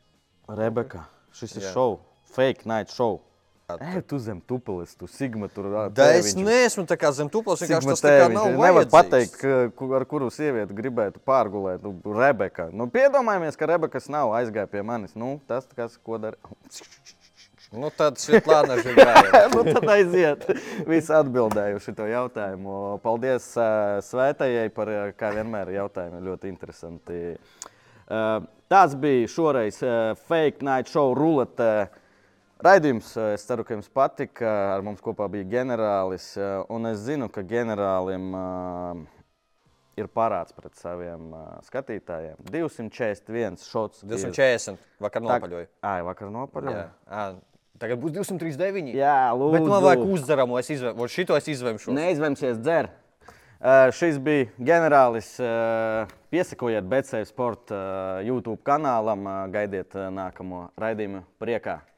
Speaker 2: Rebeka, šis ir
Speaker 1: Jā.
Speaker 2: šovs. Fake night show.
Speaker 1: Jā,
Speaker 2: Ej, tu zem tupeles, tu sigma tur ā,
Speaker 1: da, es
Speaker 2: tēviņš.
Speaker 1: neesmu tā kā zem tuplas, vienkārši
Speaker 2: Sigma
Speaker 1: tas tā kā
Speaker 2: tēviņš.
Speaker 1: nav.
Speaker 2: Nevar
Speaker 1: vajadzīgs.
Speaker 2: pateikt, ka, ku- ar kuru sievieti gribētu pārgulēt. Nu, Rebeka. Nu, piedomājamies, ka Rebekas nav aizgājusi pie manis. Nu, tas, kas, ko dara.
Speaker 1: Nu, tad Svetlana Žigaila.
Speaker 2: Nu, tad aiziet. Visi atbildēju šo jautājumu. Paldies ā, Svētajai par, ā, kā vienmēr, jautājumiem. Ļoti interesanti. Ā, Tas bija šoreiz ā, Fake Night Show rulete. Raidījums, ā, es ceru, ka jums patika. Ar mums kopā bija ģenerālis. ā, Un es zinu, ka ģenerālim ā, ir parāds pret saviem ā, skatītājiem. 241 šots. ir-
Speaker 1: 240. Vakar
Speaker 2: Tag-
Speaker 1: nopaļoju.
Speaker 2: Ai, vakar nopaļoju.
Speaker 1: Jā. Ā, Tagad būs 239.
Speaker 2: Jā, lūdzu.
Speaker 1: Bet man vajag uzdaramo, es izvem, vot šito es izvemšu.
Speaker 2: Neizvemsies dzer. Uh, šis bija ģenerālis. Uh, eh, piesakojiet BC Sports uh, YouTube kanālam, uh, gaidiet uh, nākamo eh, raidījumu priekā.